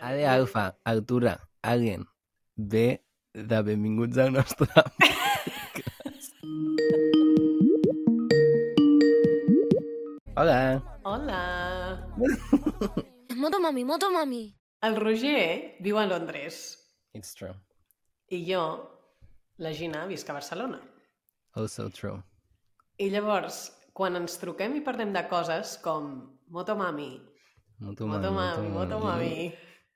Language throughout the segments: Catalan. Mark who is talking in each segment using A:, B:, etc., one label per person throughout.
A: A de alfa, altura, alien. B de benvinguts al nostre... Hola.
B: Hola!
C: Moto mami, moto mami.
B: El Roger viu a Londres
A: It's true.
B: i jo, la Gina, visc a Barcelona.
A: Also true.
B: I llavors, quan ens truquem i parlem de coses com Motomami,
A: Motomami,
B: Motomami, Motomami,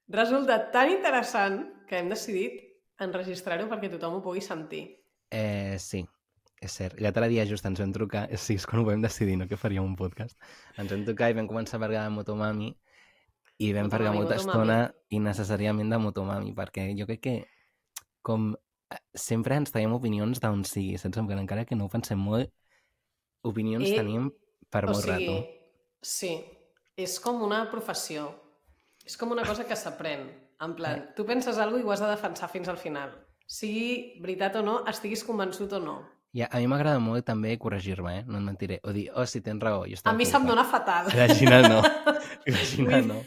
B: resulta tan interessant que hem decidit enregistrar-ho perquè tothom ho pugui sentir.
A: Eh, sí, és cert. L'altre dia just ens vam trucar, sí, és quan ho vam decidir, no? Que faríem un podcast. Ens vam trucar i vam començar a parlar de Motomami i vam
B: Motomami,
A: parlar molta
B: Motomami.
A: estona innecessàriament de Motomami, perquè jo crec que com eh, sempre ens traiem opinions d'on sigui, saps? En plan, Encara que no ho pensem molt, opinions
B: Eh,
A: tenim per molt rato.
B: Sí, és com una professió. És com una cosa que s'aprèn. En plan,
A: Eh.
B: tu penses alguna i ho has de defensar fins al final. Sigui veritat o no, estiguis convençut o no.
A: I a, a mi m'agrada molt també corregir-me, eh? No et mentiré. O dir, oh, sí, tens raó, jo
B: A
A: estava
B: mi se'm
A: equivocat".
B: dóna fatal.
A: La Gina no. La Gina
B: Vull-
A: no.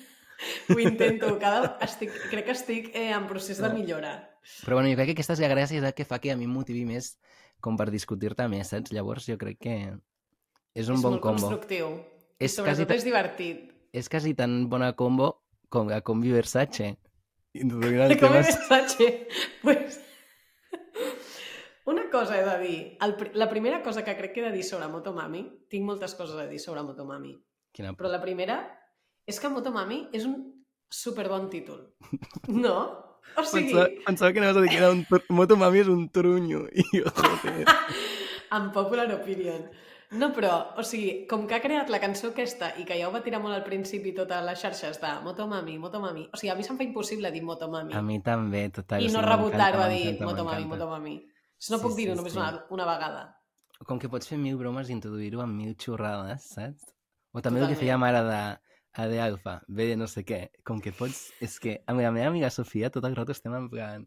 B: Ho intento. Cada... Estic... Crec que estic eh, en procés de
A: No.
B: millora.
A: Però bueno, jo crec que aquesta Ah, és la gràcia de que fa que a mi em motivi més com per discutir-te més, saps? Llavors jo crec pues, que és un
B: és
A: bon
B: molt
A: combo.
B: constructiu. I
A: És
B: Sobretot
A: quasi, ta-
B: és divertit.
A: és quasi tan bona combo com la combi Versace. Introduint el
B: I com
A: tema...
B: a missatge, pues... Una cosa he de dir. El, pri- la primera cosa que crec que he de dir sobre Motomami, tinc moltes coses a dir sobre Motomami,
A: Quina...
B: però la primera és que Motomami és un superbon títol. No? O sigui,
A: Pensava, pensava que anaves a dir que era un... Tur... Motomami és un trunyo. I jo, joder.
B: en popular opinion. No, però, o sigui, com que ha creat la cançó aquesta i que ja ho va tirar molt al principi tota totes les xarxes de Motomami, Motomami... O sigui, a mi se'm fa impossible dir Motomami.
A: A mi també, total.
B: I
A: sí,
B: no
A: m'encanta,
B: rebotar-ho a dir
A: m'encanta,
B: motomami,
A: m'encanta.
B: motomami. No
A: Sí,
B: puc
A: sí,
B: dir-ho només
A: sí.
B: una, una vegada.
A: com que pots fer mil bromes i introduir-ho amb mil xorrades, saps? O també Totalment. el que
B: Totalment.
A: feia mare de A de alfa, B de no sé què. Com que pots... És que amb la meva amiga Sofia tot el rato estem en plan...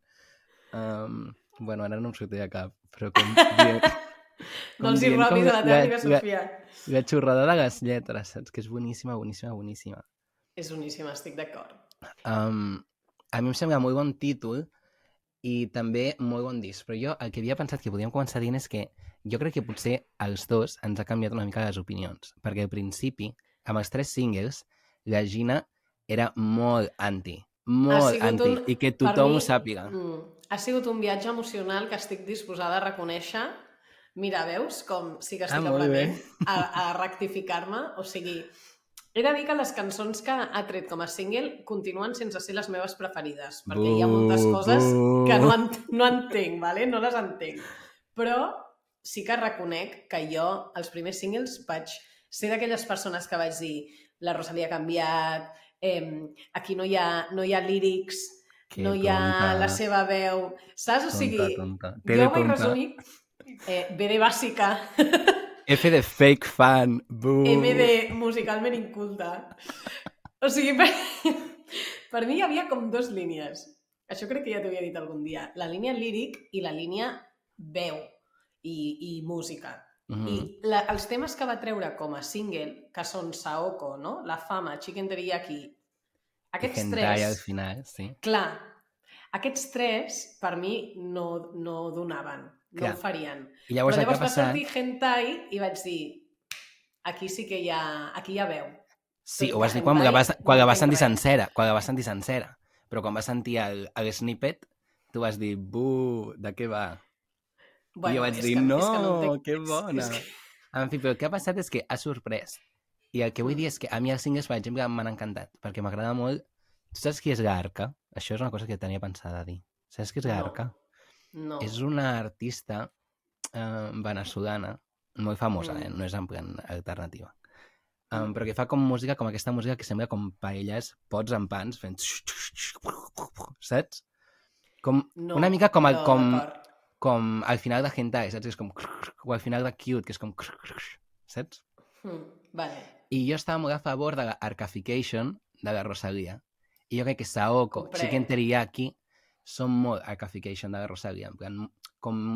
A: Um, bueno, ara no em sortiré a cap, però com... Diem,
B: No els hi
A: dient
B: robis a la teva amiga
A: la,
B: Sofia.
A: la xorrada de les lletres, saps? Que és boníssima, boníssima, boníssima.
B: És boníssima, estic d'acord.
A: Um, a mi em sembla molt bon títol i també molt bon disc, però jo el que havia pensat que podíem començar dient és que jo crec que potser els dos ens ha canviat una mica les opinions, perquè al principi, amb els tres singles, la Gina era molt anti, molt
B: sigut
A: anti,
B: un-
A: i que
B: per
A: tothom
B: mi-
A: ho sàpiga.
B: Mm. Ha sigut un viatge emocional que estic disposada a reconèixer. Mira, veus com sí que
A: Ah,
B: estic
A: molt
B: aprenent a, a rectificar-me? O sigui, he de dir que les cançons que ha tret com a single continuen sense ser les meves preferides, perquè hi ha moltes
A: Bu,
B: coses
A: bu.
B: que no, ent no entenc, vale? no les entenc. Però sí que reconec que jo, els primers singles, vaig ser d'aquelles persones que vaig dir la Rosalia ha canviat, em, aquí no hi ha, no hi ha lírics,
A: Que
B: no hi ha la seva veu, saps? O sigui,
A: tonta. Té de
B: jo vaig
A: tonta.
B: resumir eh, B de bàsica,
A: F de fake fan. Bu.
B: M de musicalment inculta. O sigui, per, per mi hi havia com dues línies. Això crec que ja t'havia dit algun dia. La línia líric i la línia veu i, i música.
A: Mhm.
B: I la, els temes que va treure com a single, que són Saoko, no? La fama, Chicken Teriyaki, aquests
A: Hentai al
B: tres...
A: final, sí.
B: Clar, aquests tres per mi no, no donaven, no
A: Clar.
B: ho farien.
A: I llavors,
B: Però llavors
A: el que ha
B: va
A: passat...
B: sortir Hentai i vaig dir aquí sí que hi ha, aquí hi ha veu.
A: Sí,
B: Tot
A: ho
B: i
A: vas
B: que
A: dir quan la
B: Hentai
A: vas, quan la
B: no
A: vas
B: entenc
A: sentir
B: res.
A: sencera, quan la vas sentir sencera. Però quan vas sentir el, el snippet, tu vas dir, bu, de què va? I jo vaig
B: és
A: dir,
B: que-
A: no,
B: és que entenc-
A: que bona.
B: És, és que...
A: En fi, però el que ha passat és que ha sorprès. I el que vull
B: Mm.
A: dir és que a mi els singles, per exemple, m'han encantat, perquè m'agrada molt... Tu saps qui és l'Arca? Això és una cosa que tenia pensada dir. Saps qui és
B: No.
A: l'Arca?
B: No.
A: És una artista eh, venezolana, molt famosa,
B: Mm.
A: eh? no és en plan alternativa. Um, però que fa com música, com aquesta música que sembla com paelles, pots en pans, fent... Saps? Com,
B: No,
A: una mica com, el,
B: no,
A: com,
B: d'acord.
A: com al final de Hentai, saps? Que És com... O al final de Cute, que és com... Saps?
B: Mm, vale.
A: I jo estava molt a favor de l'arcaification de la Rosalia. I jo crec que Saoko,
B: Comprenc.
A: Chicken Teriyaki, són molt arcaification de la Rosalia. En plan, com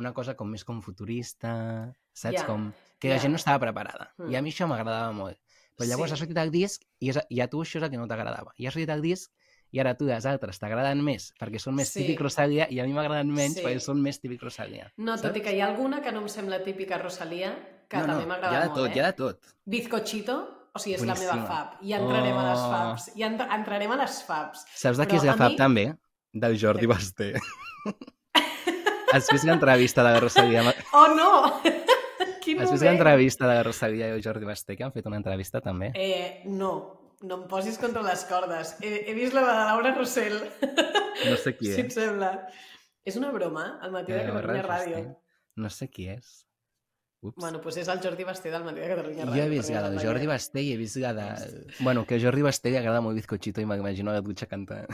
A: una cosa com més com futurista, saps?
B: Ja,
A: Com que la
B: ja.
A: gent no estava preparada. I
B: Mm.
A: a mi això m'agradava molt. Però llavors
B: Sí.
A: ha sortit el disc i, és, i a tu això és el que no t'agradava. I ha sortit el disc i ara a tu les altres t'agraden més perquè són més
B: Sí.
A: típic Rosalia i a mi m'agraden menys
B: Sí.
A: perquè són més típic Rosalia.
B: No, tot i que hi ha alguna que no em sembla típica Rosalia, que
A: no,
B: també
A: no,
B: m'agrada
A: hi ha de
B: molt,
A: tot,
B: eh?
A: hi ha de tot.
B: Bizcochito, o sigui, és la meva
A: Boníssima.
B: fab. I entrarem a les
A: Oh.
B: fabs. I entr entrarem a les fabs.
A: Saps de qui
B: Però
A: és
B: a
A: la fab
B: mi-
A: també? Del Jordi Basté. Has vist l'entrevista de la Rosalia? amb-
B: Oh, no! Quin
A: Has vist
B: moment!
A: l'entrevista de la Rosalia i el Jordi Basté que han fet una entrevista també?
B: Eh, no, no em posis contra les cordes. He, he vist la de la Laura Rossell, Eh,
A: No sé qui
B: si et
A: és.
B: sembla. És una broma, al matí de
A: Eh,
B: Catalunya
A: Barra
B: Ràdio.
A: Basté. No sé qui és. Ups.
B: Bueno, doncs és el Jordi Basté del matí de Catalunya
A: jo
B: Ràdio.
A: he vist
B: perquè
A: la del
B: és Doncs. el
A: Jordi
B: Jordi
A: Basté i he vist la de... Bueno, que a Jordi Basté li agrada molt Bizcochito i m'imagino a la dutxa cantant.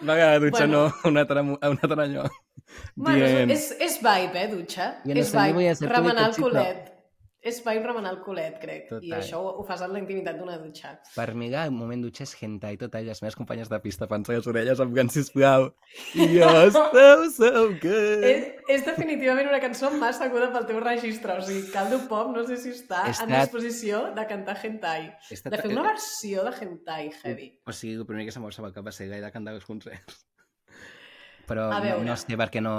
A: No, que a la dutxa
B: Bueno.
A: no, a una altra, mu- a una altra allò.
B: Bueno,
A: Dient,
B: és, és, és vibe, eh, dutxa?
A: I en
B: és
A: el senyor voy a
B: vibe,
A: ser tu
B: remenar el
A: bizcochito.
B: culet. És vibe remenar el culet, crec. I
A: Total.
B: això ho, ho fas en la intimitat d'una dutxa.
A: Per mi el moment dutxa és hentai total i les meves companyes de pista fan les orelles amb can sisplau. You're so, so good.
B: És, és definitivament una cançó massa aguda pel teu registre, o sigui, Caldo Pop no sé si està en
A: Està-
B: disposició de cantar hentai,
A: Està eh,
B: de
A: ta-
B: fer una versió de hentai heavy.
A: O sigui, el primer que se'm va al cap va ser gaire cantar els concerts. Però
B: A
A: no,
B: veure.
A: no sé per què no...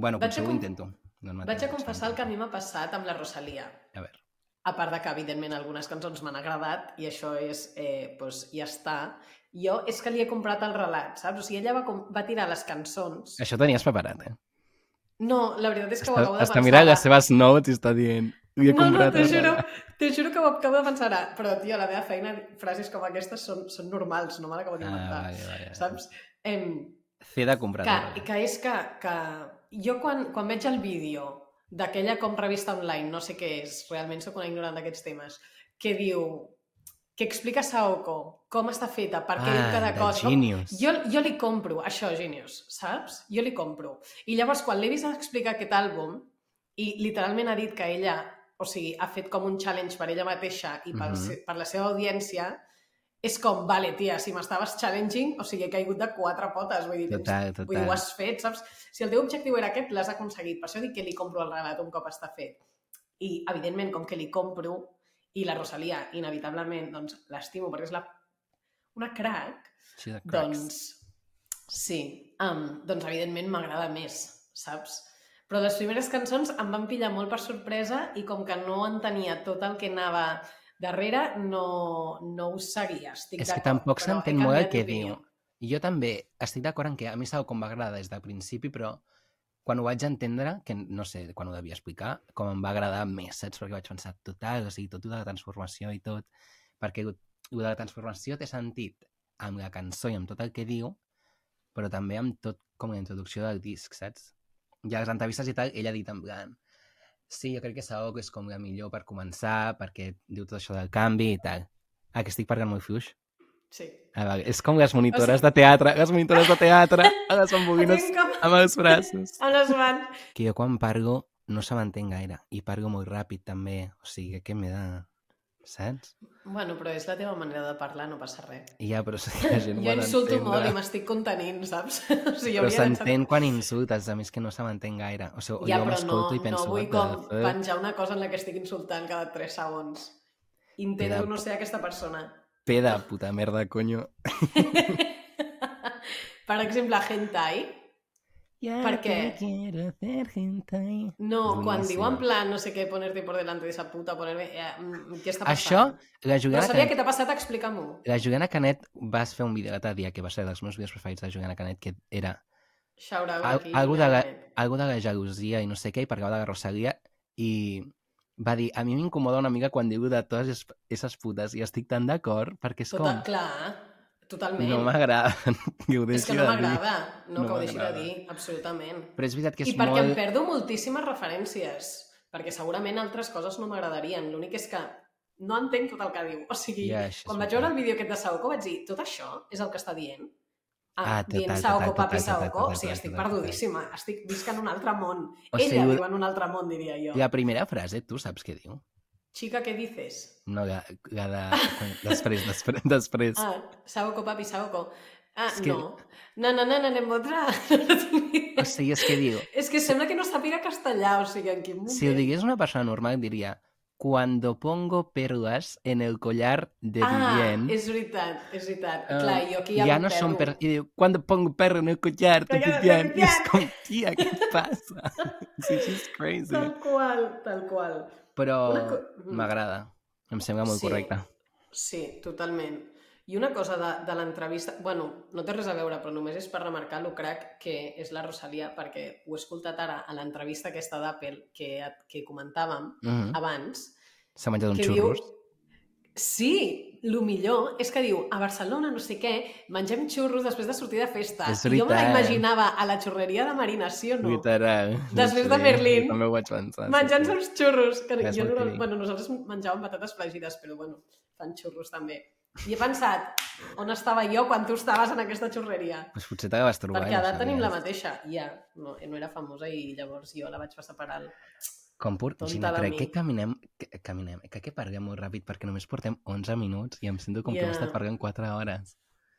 A: Bueno,
B: Vaig
A: potser
B: a
A: ho
B: conf-
A: intento. No, no
B: Vaig a
A: tinc
B: confessar el que a
A: temps.
B: mi m'ha passat amb la Rosalia.
A: A veure,
B: A part de que, evidentment, algunes cançons m'han agradat i això és, eh, doncs, ja està. Jo és que li he comprat el relat, saps? O sigui, ella va, com... va tirar les cançons.
A: això ho tenies preparat, eh?
B: No, la veritat és que ho
A: Està,
B: acabo de
A: està mirant
B: pensar.
A: les seves notes i està dient... Li he
B: No, no,
A: comprat
B: t'ho
A: el
B: juro,
A: relat."
B: t'ho juro que ho acabo de pensar ara. Però, tio, a la meva feina, frases com aquestes són, són normals, no me l'acabo
A: Ah,
B: d'inventar.
A: vale, vale. vale.
B: saps? Em,
A: Fer de comprar el
B: que,
A: relat.
B: que és que, que jo quan, quan veig el vídeo d'aquella com revista online, no sé què és, realment sóc una ignorant d'aquests temes, que diu, que explica Saoko com està feta, per què diu cada
A: Ah, de
B: cosa... com-
A: Genius.
B: Jo, jo li compro això, Genius, saps? Jo li compro. I llavors, quan l'he vist explicar aquest àlbum, i literalment ha dit que ella, o sigui, ha fet com un challenge per ella mateixa i pel,
A: Mhm.
B: se- per la seva audiència, és com, vale, tia, si m'estaves challenging, o sigui, he caigut de quatre potes, vull dir, tens-
A: Total,
B: vull dir, ho
A: total.
B: has fet, saps? Si el teu objectiu era aquest, l'has aconseguit. Per això dic que li compro el relat un cop està fet. I, evidentment, com que li compro, i la Rosalia, inevitablement, doncs, l'estimo, perquè és la... una crack,
A: Sí, de cracks.
B: doncs, sí, um, doncs evidentment m'agrada més, saps? Però les primeres cançons em van pillar molt per sorpresa i com que no entenia tot el que anava darrere, no, no ho seguia. Estic
A: És que
B: d'acord,
A: tampoc
B: però he
A: s'entén molt el
B: canviat
A: que
B: d'opinió.
A: diu. Jo també estic d'acord en que a mi Sao com m'agrada des del principi, però quan ho vaig entendre, que no sé quan ho devia explicar, com em va agradar més, saps? Perquè vaig pensar, total, o sigui, tot allò de la transformació i tot, perquè allò de la transformació té sentit amb la cançó i amb tot el que diu, però també amb tot com la introducció del disc, saps? I a les entrevistes i tal, ell ha dit en plan, sí, jo crec que Saoko és com la millor per començar, perquè diu tot això del canvi i tal. Ah, que estic parlant molt fluix?
B: Sí.
A: A veure, Ah, és com les monitores de teatre, les monitores de teatre, a les
B: Tinc
A: bambines
B: com
A: amb els braços.
B: amb les mans.
A: Que jo quan parlo no se m'entén gaire, i parlo molt ràpid també, o sigui, què m'he de... Saps?
B: Bueno, però és la teva manera de parlar, no passa res.
A: I ja, però és que la gent
B: Jo
A: ho ha
B: insulto molt i
A: d'entendre.
B: m'estic contenint, saps? O sigui, hauria
A: Però
B: d'entendre-
A: s'entén quan insultes, a més que no se m'entén gaire. O sigui,
B: Ja,
A: jo
B: però no,
A: m'escolto i penso...
B: no vull
A: "What
B: com
A: the fuck?"
B: penjar una cosa en la que estic insultant cada 3 segons. Intento
A: Mira.
B: no ser aquesta persona.
A: Peda, puta merda, coño.
B: per exemple, hentai.
A: Ya
B: Per què?
A: te quiero hacer hentai.
B: No, quan
A: Boníssim.
B: diu en plan, no sé què, ponerte por delante de esa puta, ponerme... Eh, mm, què està
A: Això,
B: passant?
A: la
B: No
A: jugada...
B: sabia
A: que-
B: què t'ha passat, explica-m'ho.
A: La Juliana Canet vas fer un vídeo l'altre dia que va ser dels meus vídeos preferits de Juliana Canet, que era
B: Shout out
A: Al-
B: aquí.
A: algú de la-
B: realment.
A: algo de la gelosia i no sé què, i parlava de la Rosalia, i va dir, a mi m'incomoda una mica quan diu de totes es- esses putes, i estic tan d'acord, perquè és
B: Tota,
A: com,
B: clar, totalment.
A: no m'agrada que ho
B: És
A: deixi
B: que no
A: de dir.
B: m'agrada, no,
A: No
B: que ho deixi de
A: m'agrada.
B: dir, absolutament.
A: Però és veritat que
B: I
A: és
B: perquè em
A: molt...
B: perdo moltíssimes referències, perquè segurament altres coses no m'agradarien. L'únic és que no entenc tot el que diu. O sigui,
A: Ja, això és
B: quan vaig
A: veritat.
B: veure el vídeo aquest de Saoko vaig dir, tot això és el que està dient?
A: Ah, total,
B: dient
A: total,
B: Saoko,
A: total,
B: papi
A: total,
B: Saoko? O
A: total,
B: sigui,
A: total,
B: estic
A: total, total.
B: perdudíssima, estic visca en un altre món.
A: O
B: Ella
A: sigui,
B: viu en un altre món, diria jo.
A: la primera frase, tu saps què diu?
B: Chica, què dices?
A: No, la, la de... Després, després, després.
B: Ah, Saoko, papi Saoko. Ah,
A: És que-
B: no. No, no, no, no, anem otra. No tinc ni idea.
A: O sigui, és que diu...
B: És que sembla que no sàpiga castellà, o sigui, en quin moment.
A: Si ho digués una persona normal, diria Cuando pongo perlas en el collar de
B: Ah,
A: Vivien.
B: és veritat, és veritat.
A: Ah,
B: Clar, jo aquí
A: Ya,
B: ja,
A: no
B: m'ho
A: son
B: perdo.
A: perros. Y digo, ¿cuándo pongo perro en el collar? Te
B: Collar de
A: pipián. Y es
B: pipián.
A: como, tía, ¿qué pasa? Sí, she's crazy.
B: Tal qual, tal qual. Una
A: Però
B: co- Mhm.
A: m'agrada. Em sembla molt
B: Sí.
A: correcta.
B: Sí, totalment. I una cosa de, de l'entrevista... bueno, no té res a veure, però només és per remarcar lo crac que és la Rosalia, perquè ho he escoltat ara a l'entrevista aquesta d'Apple que, que comentàvem
A: Mhm.
B: abans,
A: S'ha menjat un
B: Ah, que
A: xurros.
B: diu... Sí, lo millor és que diu, a Barcelona, no sé què, mengem xurros després de sortir de festa.
A: És
B: I jo me la
A: veritat.
B: imaginava a la xurreria de Marina, sí o no?
A: Literal.
B: Després de Berlín,
A: També ho vaig pensar. sí,
B: Menjant
A: sí.
B: uns xurros. Que
A: És
B: jo
A: molt
B: no,
A: típic.
B: bueno, nosaltres menjàvem patates fregides, però bueno, fan xurros també. I he pensat, on estava jo quan tu estaves en aquesta xurreria?
A: Pues potser te la vas trobar.
B: Perquè
A: i no
B: edat tenim la
A: sabies.
B: mateixa, ja. No, no era famosa i llavors jo la vaig passar per alt.
A: Com pur...
B: Tonta
A: Gina,
B: de
A: crec
B: mi.
A: que caminem... Que, caminem... Que, que parlem molt ràpid perquè només portem 11 minuts i em sento com que
B: Ja.
A: hem estat parlant 4 hores.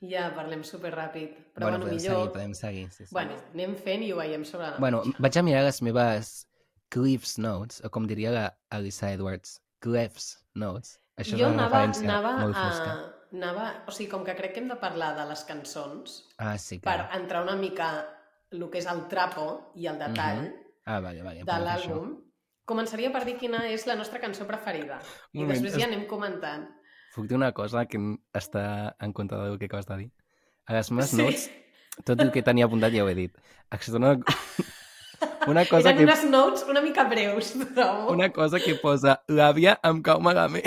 B: Ja, parlem superràpid. Però
A: bueno,
B: bueno,
A: podem
B: millor...
A: seguir, podem seguir. Sí, sí.
B: Bueno, anem fent i ho veiem sobre la
A: Bueno,
B: marxa.
A: vaig a mirar les meves Cliff's Notes, o com diria la Alyssa Edwards, Cliff's Notes. Això
B: jo
A: és una
B: anava,
A: referència
B: anava,
A: molt
B: a,
A: fosca.
B: anava... O sigui, com que crec que hem de parlar de les cançons
A: Ah, sí,
B: per
A: clar.
B: entrar una mica el que és el trapo i el detall
A: Ah, vale, vale.
B: de
A: apunto això.
B: l'àlbum, començaria per dir quina és la nostra cançó preferida. I
A: Un moment,
B: després
A: es-
B: ja anem comentant.
A: Puc dir una cosa que n- està en contra del que acabes de dir? A les meves notes, tot el que tenia apuntat ja ho he dit. Excepte una, una, cosa
B: Eren
A: que,
B: unes notes una mica breus, trobo.
A: una cosa que posa l'àvia em cau malament.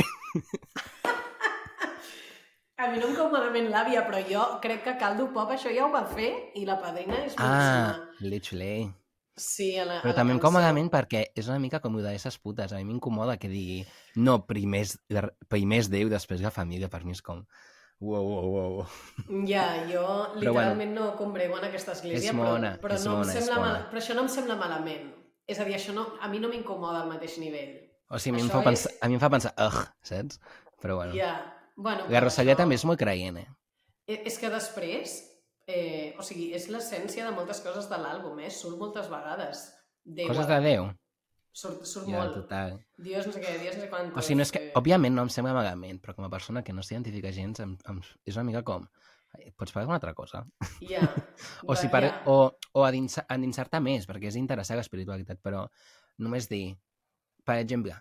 B: A mi no em cau malament l'àvia, però jo crec que Caldo Pop això ja ho va fer i la padrina és
A: Ah,
B: boníssima.
A: literally.
B: Sí, a la, a
A: Però
B: la
A: també em cau
B: cançó.
A: malament perquè és una mica com ho d'aquestes putes. A mi m'incomoda que digui, no, primer és, la- primer és Déu, després la família. Per mi és com... Uau, uau, uau.
B: Ja, jo
A: Però
B: literalment no combrego en aquesta església,
A: És mona,
B: però, però,
A: és
B: no
A: mona,
B: em
A: és
B: sembla
A: mona.
B: mal, però això no em sembla malament. És a dir, això no, a mi no m'incomoda al mateix nivell.
A: O sigui, a mi, em
B: Això
A: fa
B: és-
A: pensar, a mi em fa pensar, ugh, saps? Però bueno.
B: Ja. Bueno,
A: La
B: però
A: Rosalia
B: això-
A: també és molt creient, eh?
B: Eh, És que després, eh, o sigui, és l'essència de moltes coses de l'àlbum, eh? Surt moltes vegades. Déu,
A: Coses de Déu.
B: Surt, surt
A: Ja,
B: molt.
A: total.
B: Dios no sé què, Dios no sé quantos. Eh,
A: O sigui, no és que, òbviament, no em sembla malament, però com a persona que no s'identifica gens, em, em, és una mica com... "Ai, Pots parlar d'una altra cosa?
B: Ja.
A: O, si
B: Va,
A: par...
B: ja.
A: o, o endinsar- endinsar-te més, perquè és interessar l'espiritualitat, però només dir, per exemple,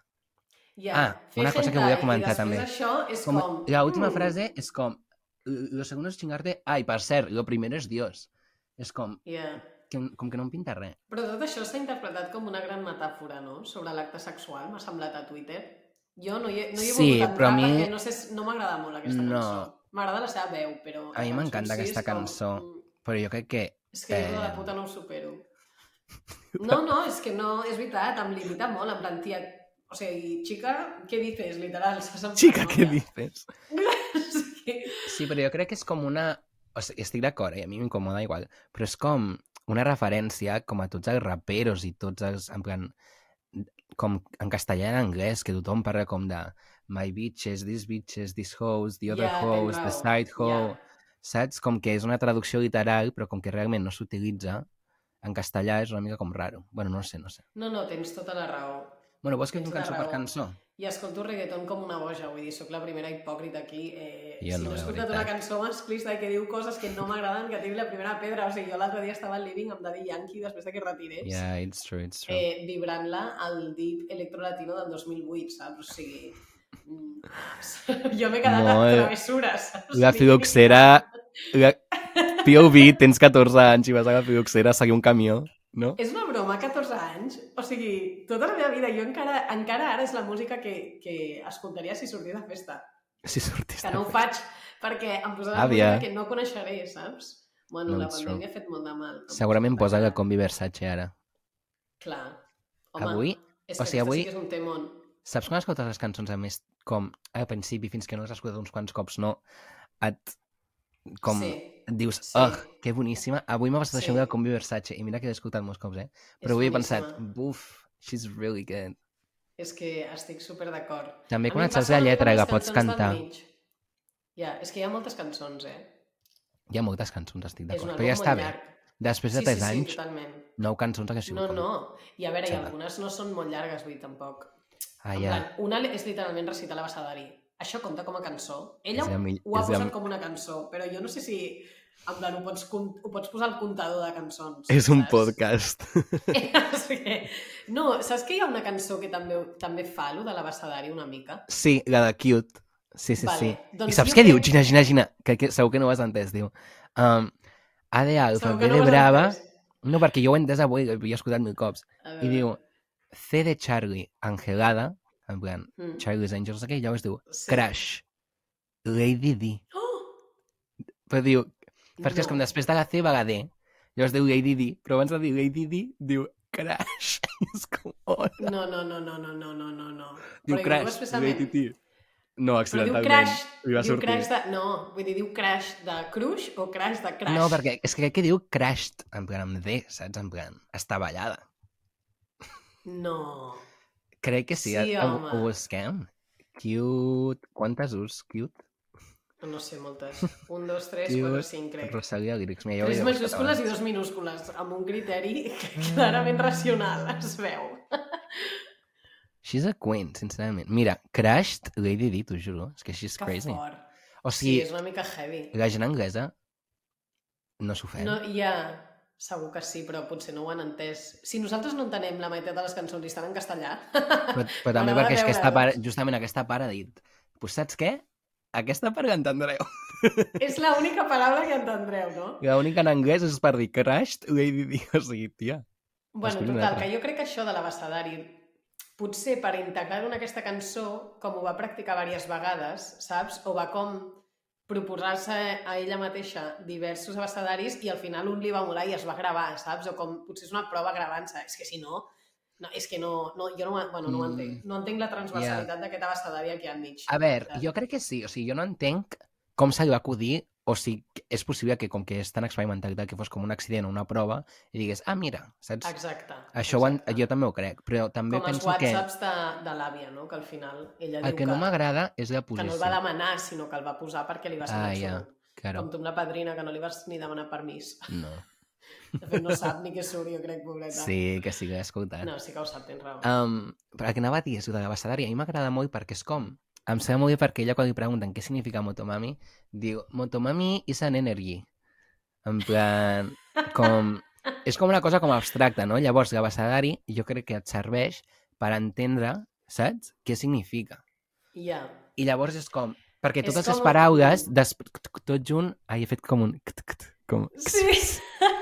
B: Ja.
A: Ah,
B: Fer
A: una cosa que volia
B: hentai
A: comentar
B: I
A: també.
B: després això és
A: com,
B: com...
A: la última
B: mm,
A: frase és com, lo segundo es chingarte, ai, per cert, lo primero es Dios. És com,
B: Ja.
A: que, com que no em pinta res.
B: Però tot això s'ha interpretat com una gran metàfora, no? Sobre l'acte sexual, m'ha semblat a Twitter. Jo no hi he, no hi he
A: Sí,
B: volgut
A: però
B: entrar
A: a mi-
B: perquè no, sé, si- no m'agrada molt aquesta
A: No.
B: cançó. M'agrada la seva veu, però...
A: A
B: la
A: mi
B: cançó en
A: m'encanta
B: si és
A: aquesta
B: com,
A: cançó.
B: mm,
A: Però jo crec que...
B: És que jo de
A: Eh.
B: la puta no ho supero. No, no, és que no, és veritat, em limita molt, em plan, tia, o sigui, xica, què dices, literal? Saps? En plan, no, ja.
A: dices?
B: És que-
A: Sí, però jo crec que és com una... O sigui, estic d'acord, eh? a mi m'incomoda igual, però és com una referència com a tots els raperos i tots els... En plan, com en castellà i en anglès, que tothom parla com de my bitches, this bitches, this hoes, the other
B: Ja, tens
A: hoes, the
B: raó.
A: side hoe...
B: Ja.
A: Saps? Com que és una traducció literal, però com que realment no s'utilitza en castellà és una mica com raro. Bueno, no sé, no sé.
B: No, no, tens tota la raó.
A: Bueno, vols que
B: Tens
A: fem
B: una
A: cançó per
B: raó.
A: cançó?
B: I escolto reggaeton com una boja, vull dir, sóc la primera hipòcrita aquí. Eh, si
A: Jo no,
B: no he
A: la
B: escoltat una
A: veritat.
B: cançó masclista que diu coses que no m'agraden, que tiri la primera pedra, o sigui, jo l'altre dia estava al living amb Daddy Yankee després de que es retirés.
A: Yeah, it's true, it's true.
B: eh, vibrant-la al Deep Electrolatino del 2008, saps? O sigui, mm, jo m'he quedat a
A: Molt.
B: travessures, saps?
A: eh, La filoxera... La... POV, tens 14 anys i vas a la filoxera a seguir un camió, no?
B: És una broma, 14 anys? O sigui, tota la meva vida, jo encara, encara ara és la música que, que escoltaria si sortís de festa.
A: Si sortís
B: Que no ho
A: de-
B: faig perquè em posarà
A: Àvia.
B: música que no coneixeré, saps? Bueno,
A: No,
B: la
A: it's true.
B: pandèmia ha fet molt de mal.
A: Segurament posa la
B: que...
A: combi Versace ara.
B: Clar. Home,
A: Avui,
B: és
A: o
B: que
A: sigui,
B: aquesta
A: avui-
B: sí que és un temón.
A: saps quan escoltes les cançons a més com al principi fins que no les has escoltat uns quants cops no et com
B: Sí,
A: et dius,
B: sí.
A: ah, oh, que boníssima. Avui m'ha passat
B: Sí.
A: això de la combi Versace i mira que l'he escoltat molts cops, eh?
B: és
A: Però avui he
B: boníssima.
A: pensat, buf, she's really good.
B: És que estic super d'acord.
A: També
B: A mi
A: quan
B: em
A: et saps
B: passa
A: la
B: una mica amb
A: lletra
B: les
A: que pots
B: cançons del
A: cantar.
B: mig. Ja, és que hi ha moltes cançons, eh?
A: Hi ha moltes cançons,
B: És un
A: estic d'acord.
B: àlbum
A: Però ja
B: ja
A: està
B: molt
A: bé.
B: llarg.
A: Després de
B: Sí,
A: 3
B: sí, sí,
A: anys,
B: totalment.
A: 9 cançons hagués sigut
B: No,
A: com...
B: no. I a veure, i
A: Xala.
B: algunes no són molt llargues, vull dir, tampoc.
A: Ah,
B: En
A: ja.
B: plan, Una és literalment recitar la Basadari. Això compta com a cançó? Ella
A: És la mill-
B: ho ha
A: és la
B: posat
A: mi-
B: com una cançó, però jo no sé si... En plan, ho pots, com- ho pots posar al comptador de cançons.
A: És un
B: saps?
A: podcast.
B: O sigui, no, saps que hi ha una cançó que també, també fa lo de l'abecedari una mica?
A: Sí, la de Cute. Sí, sí,
B: Vale,
A: sí.
B: doncs
A: I saps
B: jo
A: què diu?
B: crec-
A: Gina, Gina, Gina. Que, que segur que no ho has entès, diu. Um, A de Alfa,
B: Segur que
A: B
B: no
A: de
B: ho has
A: Brava...
B: entès.
A: No, perquè jo ho he entès avui, jo he escoltat mil cops.
B: A
A: I
B: veure.
A: diu, C de Charlie, Angelada, en plan,
B: Mm.
A: Charlie's Angels, aquell, llavors diu,
B: Sí.
A: Crash, Lady D.
B: Oh!
A: Però diu, perquè és
B: No.
A: com després de la C va la D. Llavors diu Lady D, però abans de dir Lady D, diu Crash. és com, oh,
B: No, no, no, no, no, no, no, no, no.
A: diu
B: Perquè ho diu
A: Crash,
B: expressament.
A: Lady D. No,
B: Però diu
A: accidentalment.
B: crash,
A: Li va
B: diu
A: sortir.
B: crash de... No, vull dir, diu crash de crush o crash de crash.
A: No, perquè és que crec que diu crashed, en plan amb D, saps? En plan, està ballada.
B: No.
A: Crec que sí,
B: Sí,
A: ho-
B: home.
A: ho busquem. Cute, quantes us? Cute,
B: No sé, moltes. Un, dos, tres,
A: Diu
B: quatre, cinc, crec.
A: Rosalia Lyrics. Mira, jo ho
B: Tres
A: havia buscat
B: majúscules i
A: abans.
B: dos minúscules, amb un criteri clarament racional, es veu.
A: She's a queen, sincerament. Mira, crashed Lady Di, t'ho juro. És que she's
B: Que
A: crazy.
B: fort.
A: O
B: Sí,
A: sigui,
B: és una mica heavy.
A: la gent anglesa no s'ho fem.
B: No, ja, segur que sí, però potser no ho han entès. Si nosaltres no entenem la meitat de les cançons i estan en castellà,
A: Però, però també
B: M'agrada
A: perquè és que aquesta
B: veure-los.
A: part, justament aquesta part ha dit pues saps què? Aquesta part l'entendreu.
B: és l'única paraula que entendreu, no?
A: L'única en anglès és per dir crashed Lady Di. O sigui, tia.
B: Bueno,
A: Escolta una
B: total,
A: altra.
B: que jo crec que això de l'abecedari, potser per integrar-ho en aquesta cançó, com ho va practicar diverses vegades, saps? O va com proposar-se a ella mateixa diversos abecedaris i al final un li va molar i es va gravar, saps? O com potser és una prova gravant-se. És que si no, no és que no, no jo no, ho- bueno, no ho
A: Mm.
B: entenc. No entenc la transversalitat d'aquest abecedari aquí al mig.
A: A veure, jo crec que sí. O sigui, jo no entenc com se li va acudir o si és possible que, com que és tan experimental, que fos com un accident o una prova, i digués, ah, mira, saps?
B: Exacte.
A: Això ho en...
B: exacte.
A: jo també ho crec, però també
B: Com els
A: penso que
B: whatsapps de, de l'àvia, no? Que al final ella
A: el
B: diu
A: que no m'agrada és la
B: que no
A: posició.
B: el va demanar, sinó que el va posar perquè li va ser
A: Ah,
B: ah,
A: ja.
B: ja.
A: Claro,
B: Com tu amb la padrina, que no li vas ni demanar permís.
A: no.
B: De fet, no sap ni què surt, jo crec, pobreta.
A: Sí, que sí que he escoltat.
B: No, sí que ho sap, tens raó. Ah.
A: Um, però el que anava a dir és el de l'abecedari. A mi m'agrada molt perquè és com... Em sembla molt bé perquè ella quan li pregunten què significa motomami, diu motomami is an energy. En plan, com... És com una cosa com abstracta, no? Llavors, l'abecedari jo crec que et serveix per entendre, saps? Què significa.
B: Ja.
A: I llavors és com... Perquè
B: És
A: totes
B: com
A: les
B: un-
A: paraules, des... tot junt... Ai, he fet com un... Com...
B: Sí.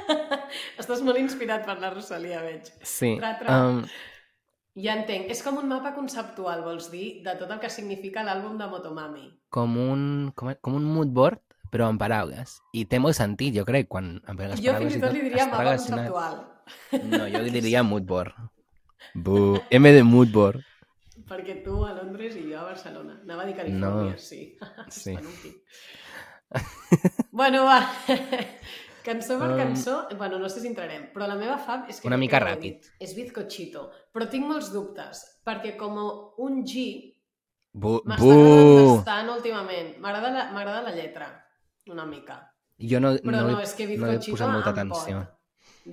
B: Estàs molt inspirat per la Rosalia, veig.
A: Sí.
B: Tra, tra.
A: Um,
B: Ja entenc. És com un mapa conceptual, vols dir, de tot el que significa l'àlbum de Motomami.
A: com un, com, com un mood board, però amb paraules. I té molt sentit, jo crec, quan... Amb les
B: jo
A: paraules
B: fins i
A: i
B: tot li diria
A: està
B: mapa
A: relacionat.
B: conceptual,
A: No, jo li diria mood board. Bu, M de mood board.
B: perquè tu a Londres i jo a Barcelona. Anava a dir Califòrnia,
A: No.
B: sí.
A: Sí.
B: Estan un pic. bueno, va. Cançó per
A: Um,
B: cançó, bueno, no sé si entrarem, però la meva fam és que...
A: Una
B: crec
A: mica
B: que ja ho he
A: ràpid.
B: dit, És bizcochito, però tinc molts dubtes, perquè com un G
A: Bu,
B: m'està agradant
A: bu.
B: bastant últimament. M'agrada la, m'agrada la lletra, una mica.
A: Jo no,
B: Però no,
A: no,
B: és que
A: no he
B: bizcochito
A: posat molta
B: em pot.
A: atenció.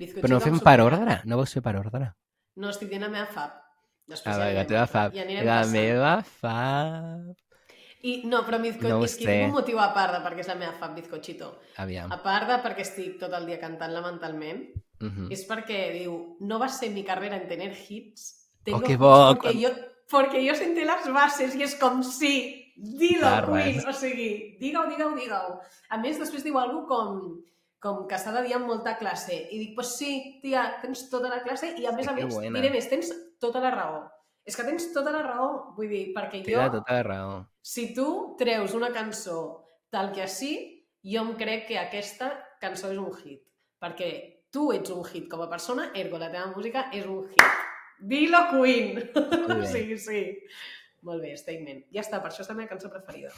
B: Bizcochito
A: Però no
B: em
A: fem
B: supera.
A: per ordre? No vols fer per ordre?
B: No, estic dient la meva fab. Després
A: A
B: ja
A: veure, la
B: anirem-
A: teva fa...
B: Ja anirem
A: La
B: passant.
A: meva fa...
B: I, no, però bizco...
A: No ho
B: és que tinc
A: sé.
B: un motiu a part de perquè és la meva fab bizcochito.
A: Aviam.
B: A part de perquè estic tot el dia cantant-la mentalment,
A: Mhm.
B: és perquè diu, no va ser mi carrera en tener hits. Tengo
A: Oh, que
B: hits
A: bo,
B: Porque,
A: quan-
B: yo, porque yo senté las bases i és com, sí, dilo,
A: Clar,
B: Luis,
A: Ah, res.
B: o sigui, digue-ho, digue-ho, digue-ho. A més, després diu alguna com com que s'ha de dir amb molta classe. I dic, pues sí, tia, tens tota la classe i a més a
A: que
B: més,
A: buena.
B: diré més, tens tota la raó. És que tens tota la raó, vull dir, perquè
A: Té
B: jo...
A: la tota la raó.
B: Si tu treus una cançó tal que així, jo em crec que aquesta cançó és un hit. Perquè tu ets un hit com a persona, ergo la teva música és un hit. Dilo Queen!
A: Molt bé.
B: sí, sí. Molt bé, statement. Ja està, per això és la meva cançó preferida.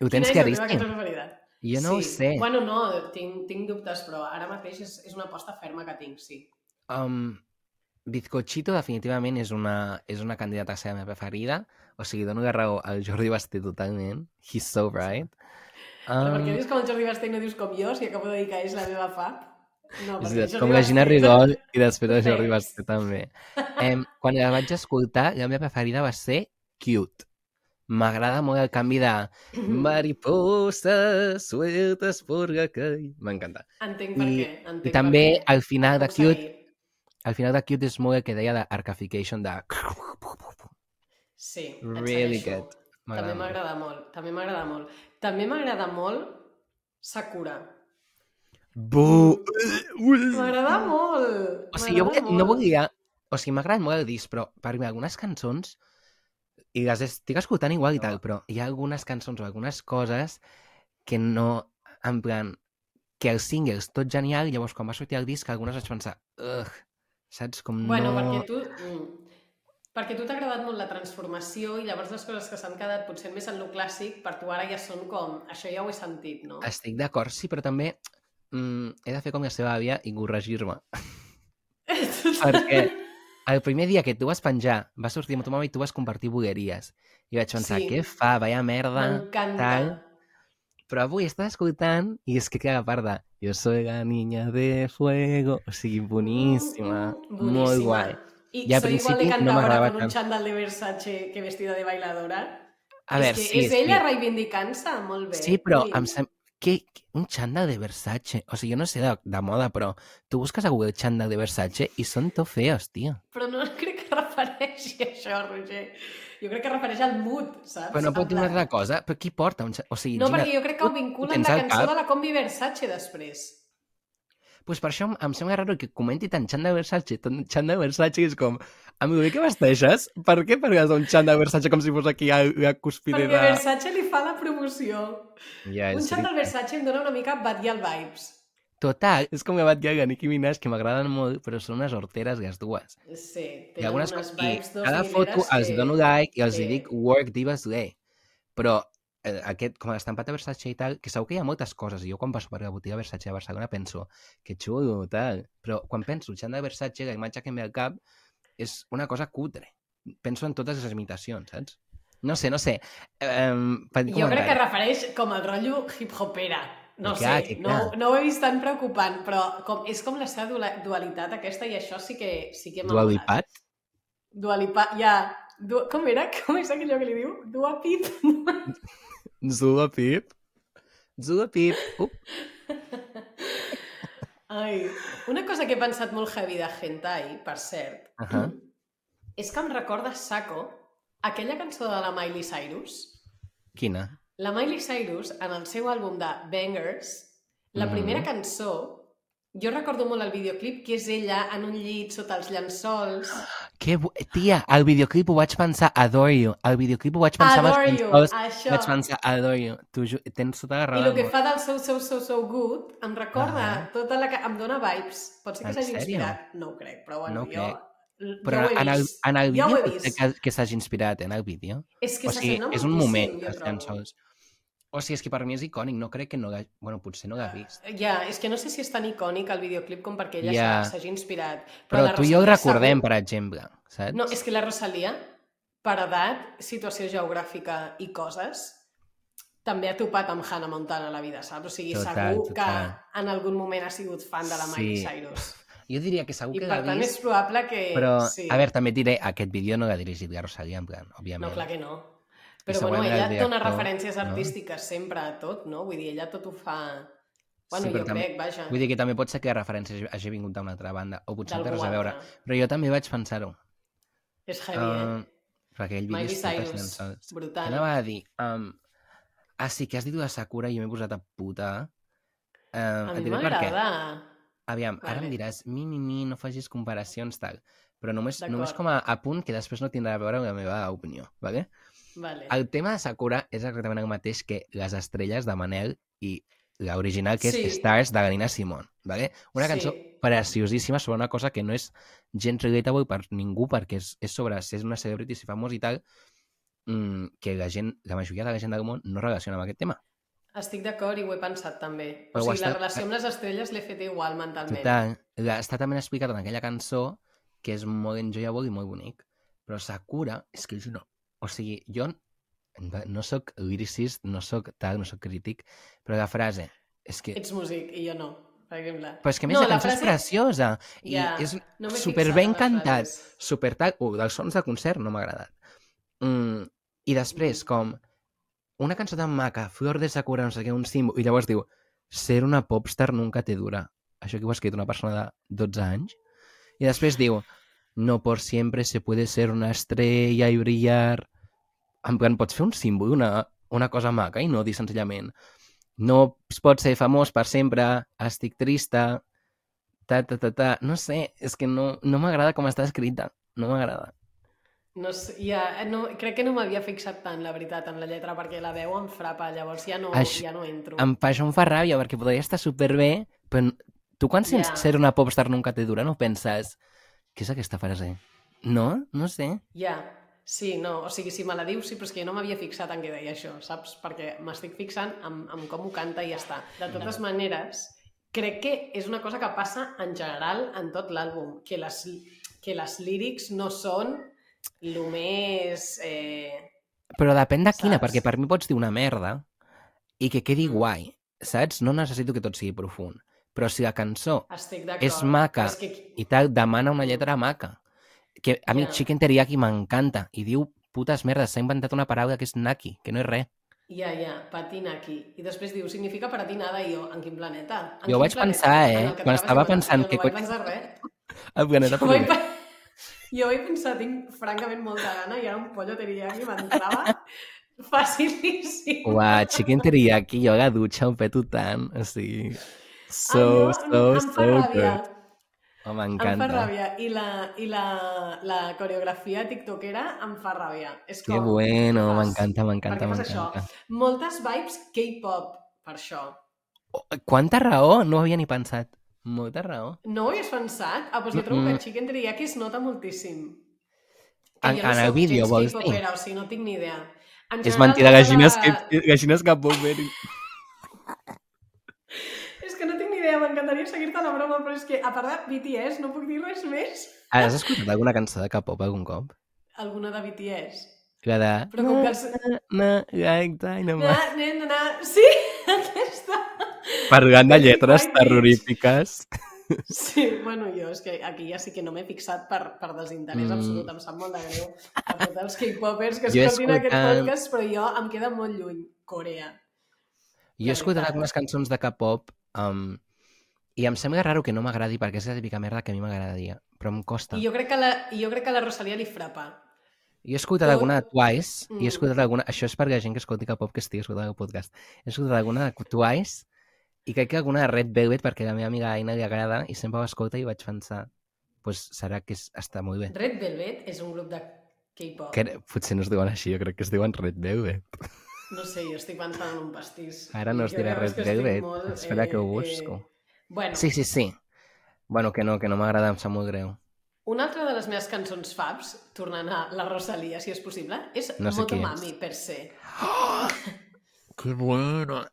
A: Ho tens
B: Quina és la
A: que
B: teva
A: arriscar.
B: cançó preferida?
A: Jo no ho
B: Sí.
A: sé.
B: Bueno, no, tinc, tinc dubtes, però ara mateix és, és una aposta ferma que tinc, sí.
A: Um, Bizcochito definitivament és una, és una candidata a ser la meva preferida. O sigui, dono la raó al Jordi Basté totalment. He's so right.
B: Però per què
A: Um,
B: dius com el Jordi Basté i no dius com jo, si acabo de dir que és la meva fa? No,
A: És
B: perquè
A: veritat,
B: Jordi
A: com la Gina
B: Basté-
A: Rigol i després la Jordi
B: Res.
A: Basté també. Em, quan la vaig escoltar, la meva preferida va ser Cute. M'agrada molt el canvi de
B: Mm-hmm.
A: mariposa, sueltes por la calle. M'encanta.
B: Entenc per
A: I-
B: què. Entenc
A: I
B: per
A: també
B: què.
A: al final de
B: Vamos a
A: Cute,
B: ir.
A: al final de Cute és molt el que deia d'arcaification de...
B: Sí, et
A: Really
B: segueixo.
A: good.
B: També
A: M'agrada molt.
B: m'agrada molt. També m'agrada molt. També m'agrada molt Sakura.
A: Bu-
B: M'agrada molt.
A: O sigui, jo
B: m'agrada
A: volia, no
B: molt.
A: volia... O sigui, m'agrada molt el disc, però per mi algunes cançons i les estic escoltant igual i tal, però hi ha algunes cançons o algunes coses que no... En plan, que el single és tot genial, i llavors quan va sortir el disc algunes vaig pensar... Ugh, saps? Com
B: Bueno,
A: no...
B: perquè tu... Mm, perquè a tu t'ha agradat molt la transformació i llavors les coses que s'han quedat potser més en lo clàssic per tu ara ja són com... Això ja ho he sentit, no?
A: Estic d'acord, sí, però també mm, he de fer com la seva àvia i corregir-me. perquè el primer dia que tu vas penjar, va sortir amb tu mama i tu vas compartir bogeries. I vaig pensar,
B: Sí.
A: sí. què fa? Vaya merda.
B: M'encanta.
A: tal. Però avui estàs escoltant i és que queda part de Jo soy la niña de fuego. O sigui, boníssima.
B: Mm, mm,
A: Molt
B: boníssima.
A: guai.
B: I
A: Ja
B: soy igual
A: al
B: de
A: principi no
B: cantadora
A: m'agradava
B: con un
A: tant.
B: xandall de Versace que vestida de bailadora.
A: A veure,
B: és que
A: sí,
B: és ella reivindicant-se, molt bé.
A: Sí, però
B: Vull dir,
A: em sem... Que, un xandall de Versace. O sigui, jo no sé de, de moda, però tu busques a Google xandall de Versace i són tot feos, tio.
B: Però no crec que refereixi a això, Roger. Jo crec que refereix al mood, saps?
A: Però no
B: En
A: pot dir una
B: plan-
A: altra cosa. Però qui porta un xandall? O sigui,
B: Ah, No,
A: Gina,
B: perquè jo crec que ho vinculen
A: tens
B: la
A: al
B: cançó
A: cap?
B: de la Combi Versace després.
A: pues per això em- em sembla raro que comenti tant xandall Versace, tant xandall Versace, i és com... A mi, què vesteixes? Per què parles d'un xandall Versace com si fos aquí a, a
B: Perquè
A: cuspide de...
B: Versace li fa la promoció.
A: Ja,
B: Un
A: és
B: xat del Versace em dona una mica Badial vibes.
A: Total, és com que Bad Gaga, Nicki Minaj, que m'agraden molt, però són unes horteres les dues.
B: Sí,
A: I
B: tenen
A: algunes
B: unes
A: coses... I
B: vibes dos
A: cada foto
B: mileres
A: els
B: que-
A: dono like i els
B: que-
A: hi dic work divas gay. Però eh, aquest, com l'estampat de Versace i tal, que segur que hi ha moltes coses. Jo quan passo per la botiga Versace a Barcelona penso que xulo, tal. Però quan penso en de Versace, la imatge que em ve al cap és una cosa cutre. Penso en totes les imitacions, saps? No sé, no sé. Um,
B: Jo crec que refereix com el rotllo hip-hopera. No
A: Clar,
B: sé,
A: que
B: no,
A: clar.
B: no ho he vist tan preocupant, però com, és com la seva dula- dualitat aquesta i això sí que, sí que m'ha molat.
A: Dualipat?
B: Dualipa, ja... Du, com era? Com és aquell que li diu? Duapip?
A: Zula Pip? Zula Pip? Up.
B: Ai, una cosa que he pensat molt heavy de hentai, per cert,
A: Uh -huh.
B: és que em recorda Sako, aquella cançó de la Miley Cyrus.
A: Quina?
B: La Miley Cyrus, en el seu àlbum de Bangers, la
A: Mhm.
B: primera cançó, jo recordo molt el videoclip, que és ella en un llit sota els llençols.
A: Que bu... Tia, el videoclip ho vaig pensar, adore you. El videoclip ho vaig pensar amb els
B: Adore you,
A: llençols,
B: això.
A: Vaig pensar, adore you. Tu ju... tens tota la
B: I
A: raó.
B: el que
A: del
B: fa del So So So So Good em recorda
A: Ah.
B: tota la... ca- em dona vibes. Pot ser que
A: En
B: s'hagi
A: sèrio?
B: inspirat. No ho crec, però bueno,
A: No ho
B: jo...
A: crec.
B: l-
A: món. Però
B: jo ho he
A: en el,
B: vist.
A: en el
B: Jo ho
A: vídeo
B: he
A: pot ser
B: vist.
A: que, que s'hagi inspirat, eh, en el vídeo.
B: És que
A: o sigui,
B: s'assembla
A: és un
B: moltíssim,
A: moment,
B: jo
A: els
B: trobo.
A: llençols. O sigui, és que per mi és icònic, no crec que no l'hagi... Bueno, potser no l'ha vist.
B: Ja, és que no sé si és tan icònic el videoclip com perquè ella
A: Ja.
B: s'ha- s'hagi inspirat.
A: Però,
B: la
A: tu i jo el
B: Rosalia
A: recordem,
B: segur-
A: per exemple, saps?
B: No, és que la Rosalia, per edat, situació geogràfica i coses, també ha topat amb Hannah Montana a la vida, saps? O sigui,
A: Total,
B: segur
A: total.
B: que en algun moment ha sigut fan de la Miley
A: Sí.
B: Cyrus.
A: Jo diria que segur
B: I
A: que
B: per
A: l'ha
B: tant és
A: vist,
B: probable que...
A: però...
B: sí.
A: A veure, també et diré, aquest vídeo no l'ha dirigit la Rosalia, en plan, òbviament.
B: No, clar que no. Però
A: segurament
B: bueno, ella
A: el
B: dona
A: director,
B: referències
A: no?
B: artístiques sempre a tot, no? Vull dir, ella tot ho fa... Bueno,
A: Sí,
B: jo
A: però també-
B: crec, vaja.
A: Vull dir que també pot ser que la referència hagi- hagi vingut d'una altra banda, o potser no té
B: d'algú
A: res a veure.
B: altre.
A: Però jo també vaig pensar-ho.
B: És heavy, eh?
A: Um, perquè ell
B: Miley
A: vídeo és totes
B: Cyrus,
A: llençols.
B: brutal.
A: Anava a dir, um, ah, sí, que has dit de Sakura i jo m'he posat a puta. Um,
B: A
A: et
B: mi
A: diré per què.
B: m'agrada.
A: Aviam, vale. ara
B: Vale.
A: em diràs, mi, mi, mi, no facis comparacions, tal. Però només,
B: D'acord.
A: només com a, a punt que després no tindrà a veure amb la meva opinió, vale?
B: Vale.
A: El tema de Sakura és exactament el mateix que les estrelles de Manel i l'original, que és
B: Sí.
A: Stars, de la Nina Simone, vale? Una
B: Sí.
A: cançó preciosíssima sobre una cosa que no és gens relatable per ningú perquè és, és sobre si és una celebrity, si famós i tal, mm, que la gent, la majoria de la gent del món no relaciona amb aquest tema.
B: Estic d'acord i ho he pensat també. O
A: Però ho
B: sigui, la
A: està-
B: relació amb les estrelles l'he fet igual mentalment.
A: Total, la- està també explicat en aquella cançó que és molt enjoyable i molt bonic. Però Sakura és que és una... O sigui, jo n- no sóc lyricist, no sóc tal, no sóc crític, però la frase és que
B: Ets músic i jo no. per exemple.
A: Però és que a més
B: Eh, No,
A: la
B: la
A: cançó
B: frase-
A: és preciosa i
B: Ja,
A: és
B: No m'he
A: super
B: fixat
A: ben
B: en les
A: cantat,
B: frases.
A: super tal... Uh, dels sons de concert no m'ha agradat. Mm, I després,
B: Mhm.
A: com una cançó tan maca, Flor de Sakura, no sé què, un símbol, i llavors diu ser una popstar nunca te dura. Això que ho ha escrit una persona de 12 anys. I després diu no por siempre se puede ser una estrella i brillar. En plan, pots fer un símbol, una, una cosa maca, i no dir senzillament no es pot ser famós per sempre, estic trista, ta, ta, ta, ta. No sé, és que no, no m'agrada com està escrita. No m'agrada.
B: No, sé, ja, no, crec que no m'havia fixat tant, la veritat, en la lletra, perquè la veu em frapa, llavors ja no,
A: Això-
B: ja no entro.
A: Em fa, això em fa ràbia, perquè podria estar superbé, però tu quan sents
B: Ja.
A: ser una popstar nunca te dura, no penses què és aquesta frase? No? No sé.
B: Ja, sí, no, o sigui, si me la dius, sí, però és que jo no m'havia fixat en què deia això, saps? Perquè m'estic fixant en, en com ho canta i ja està. De totes maneres, crec que és una cosa que passa en general en tot l'àlbum, que les, que les lírics no són el més... Eh...
A: Però depèn de quina,
B: Saps? Mm.
A: perquè per mi pots dir una merda i que quedi guai, saps? No necessito que tot sigui profund. Però si la cançó
B: Estic d'acord.
A: És maca.
B: Però És que...
A: i tal, demana una lletra maca. Que a mi
B: Ja.
A: Chicken Teriyaki m'encanta i diu putes merdes, s'ha inventat una paraula que és naki, que no és res.
B: Ja, ja, patina aquí. I després diu, significa per a ti nada, i jo, en quin planeta? En
A: Jo ho
B: quin
A: vaig pensar, eh?
B: En el que
A: Quan
B: trobes
A: estava
B: a Madrid,
A: pensant
B: jo
A: que
B: No vaig
A: coi-
B: pensar res.
A: El planeta
B: Jo vaig,
A: Perú.
B: pe- jo vaig pensar, tinc francament molta gana i ara un pollo teriyaki m'entrava facilíssim.
A: Uà, Chicken Teriyaki, jo a la dutxa ho peto tant. O sigui... So,
B: Ah,
A: so,
B: no, em
A: so
B: fa ràbia,
A: good. Oh,
B: em fa
A: m'encanta.
B: ràbia. I la, i la, la coreografia tiktokera em fa ràbia. És
A: Que
B: com,
A: bueno,
B: fas?
A: m'encanta,
B: per
A: m'encanta,
B: què fas això?
A: m'encanta.
B: Moltes vibes K-pop, per això.
A: Oh, quanta raó! No ho havia ni pensat. Molta raó.
B: No ho havies pensat? Ah, doncs jo trobo
A: Mm-mm.
B: que Chicken Teriyaki es nota moltíssim.
A: En-
B: jo no
A: en el
B: soc
A: vídeo,
B: gens
A: vols dir?
B: K-popera, O sigui, no tinc ni idea. En
A: És
B: general,
A: mentida,
B: tota
A: gallines
B: la-
A: que, gallines que poden
B: És que no tinc ni idea, m'encantaria seguir-te la broma, però és que, a part de BTS, no puc dir res més.
A: Has escoltat alguna cançó de K-pop algun cop?
B: Alguna de BTS.
A: La de...
B: Però com que els...
A: Na, like Dynamite.
B: Na, na, na, na. Sí, aquesta.
A: Parlant de lletres
B: Dynamite.
A: terrorífiques.
B: Sí, bueno, jo és que aquí ja sí que no m'he fixat per, per desinterès
A: Mm.
B: absolut. Em sap molt de greu a tots els K-popers que
A: Jo he
B: escoltin aquest
A: escoltat-
B: podcast, però jo em queda molt lluny, Corea.
A: Jo he
B: La
A: escoltat
B: veritat.
A: algunes cançons de K-pop um, i em sembla raro que no m'agradi perquè és la típica merda que a mi m'agradaria, però em costa.
B: I
A: Jo,
B: jo crec que la, i jo crec que la Rosalia li frapa.
A: he escoltat
B: jo-
A: alguna de Twice i
B: Mm.
A: he escoltat alguna... Això és per la gent que escolti K-pop que estigui escoltant el podcast. He escoltat alguna de Twice i crec que alguna de Red Velvet perquè a la meva amiga Aina li agrada i sempre ho escolta i vaig pensar pues serà que és, està molt bé.
B: Red Velvet és un grup de K-pop.
A: Que potser no es diuen així, jo crec que es diuen Red Velvet.
B: No sé, jo estic pensant en un pastís.
A: Ara no es
B: Jo
A: dirà
B: la
A: Red
B: veritat és que estic
A: Velvet.
B: molt, eh,
A: Espera que ho busco.
B: Bueno,
A: Sí, sí, sí. Bueno, que no, que no m'agrada, em sap molt greu.
B: una altra de les meves cançons faps, tornant a la Rosalia, si és possible, és
A: No sé qui
B: Motomami, per se.
A: Que bueno!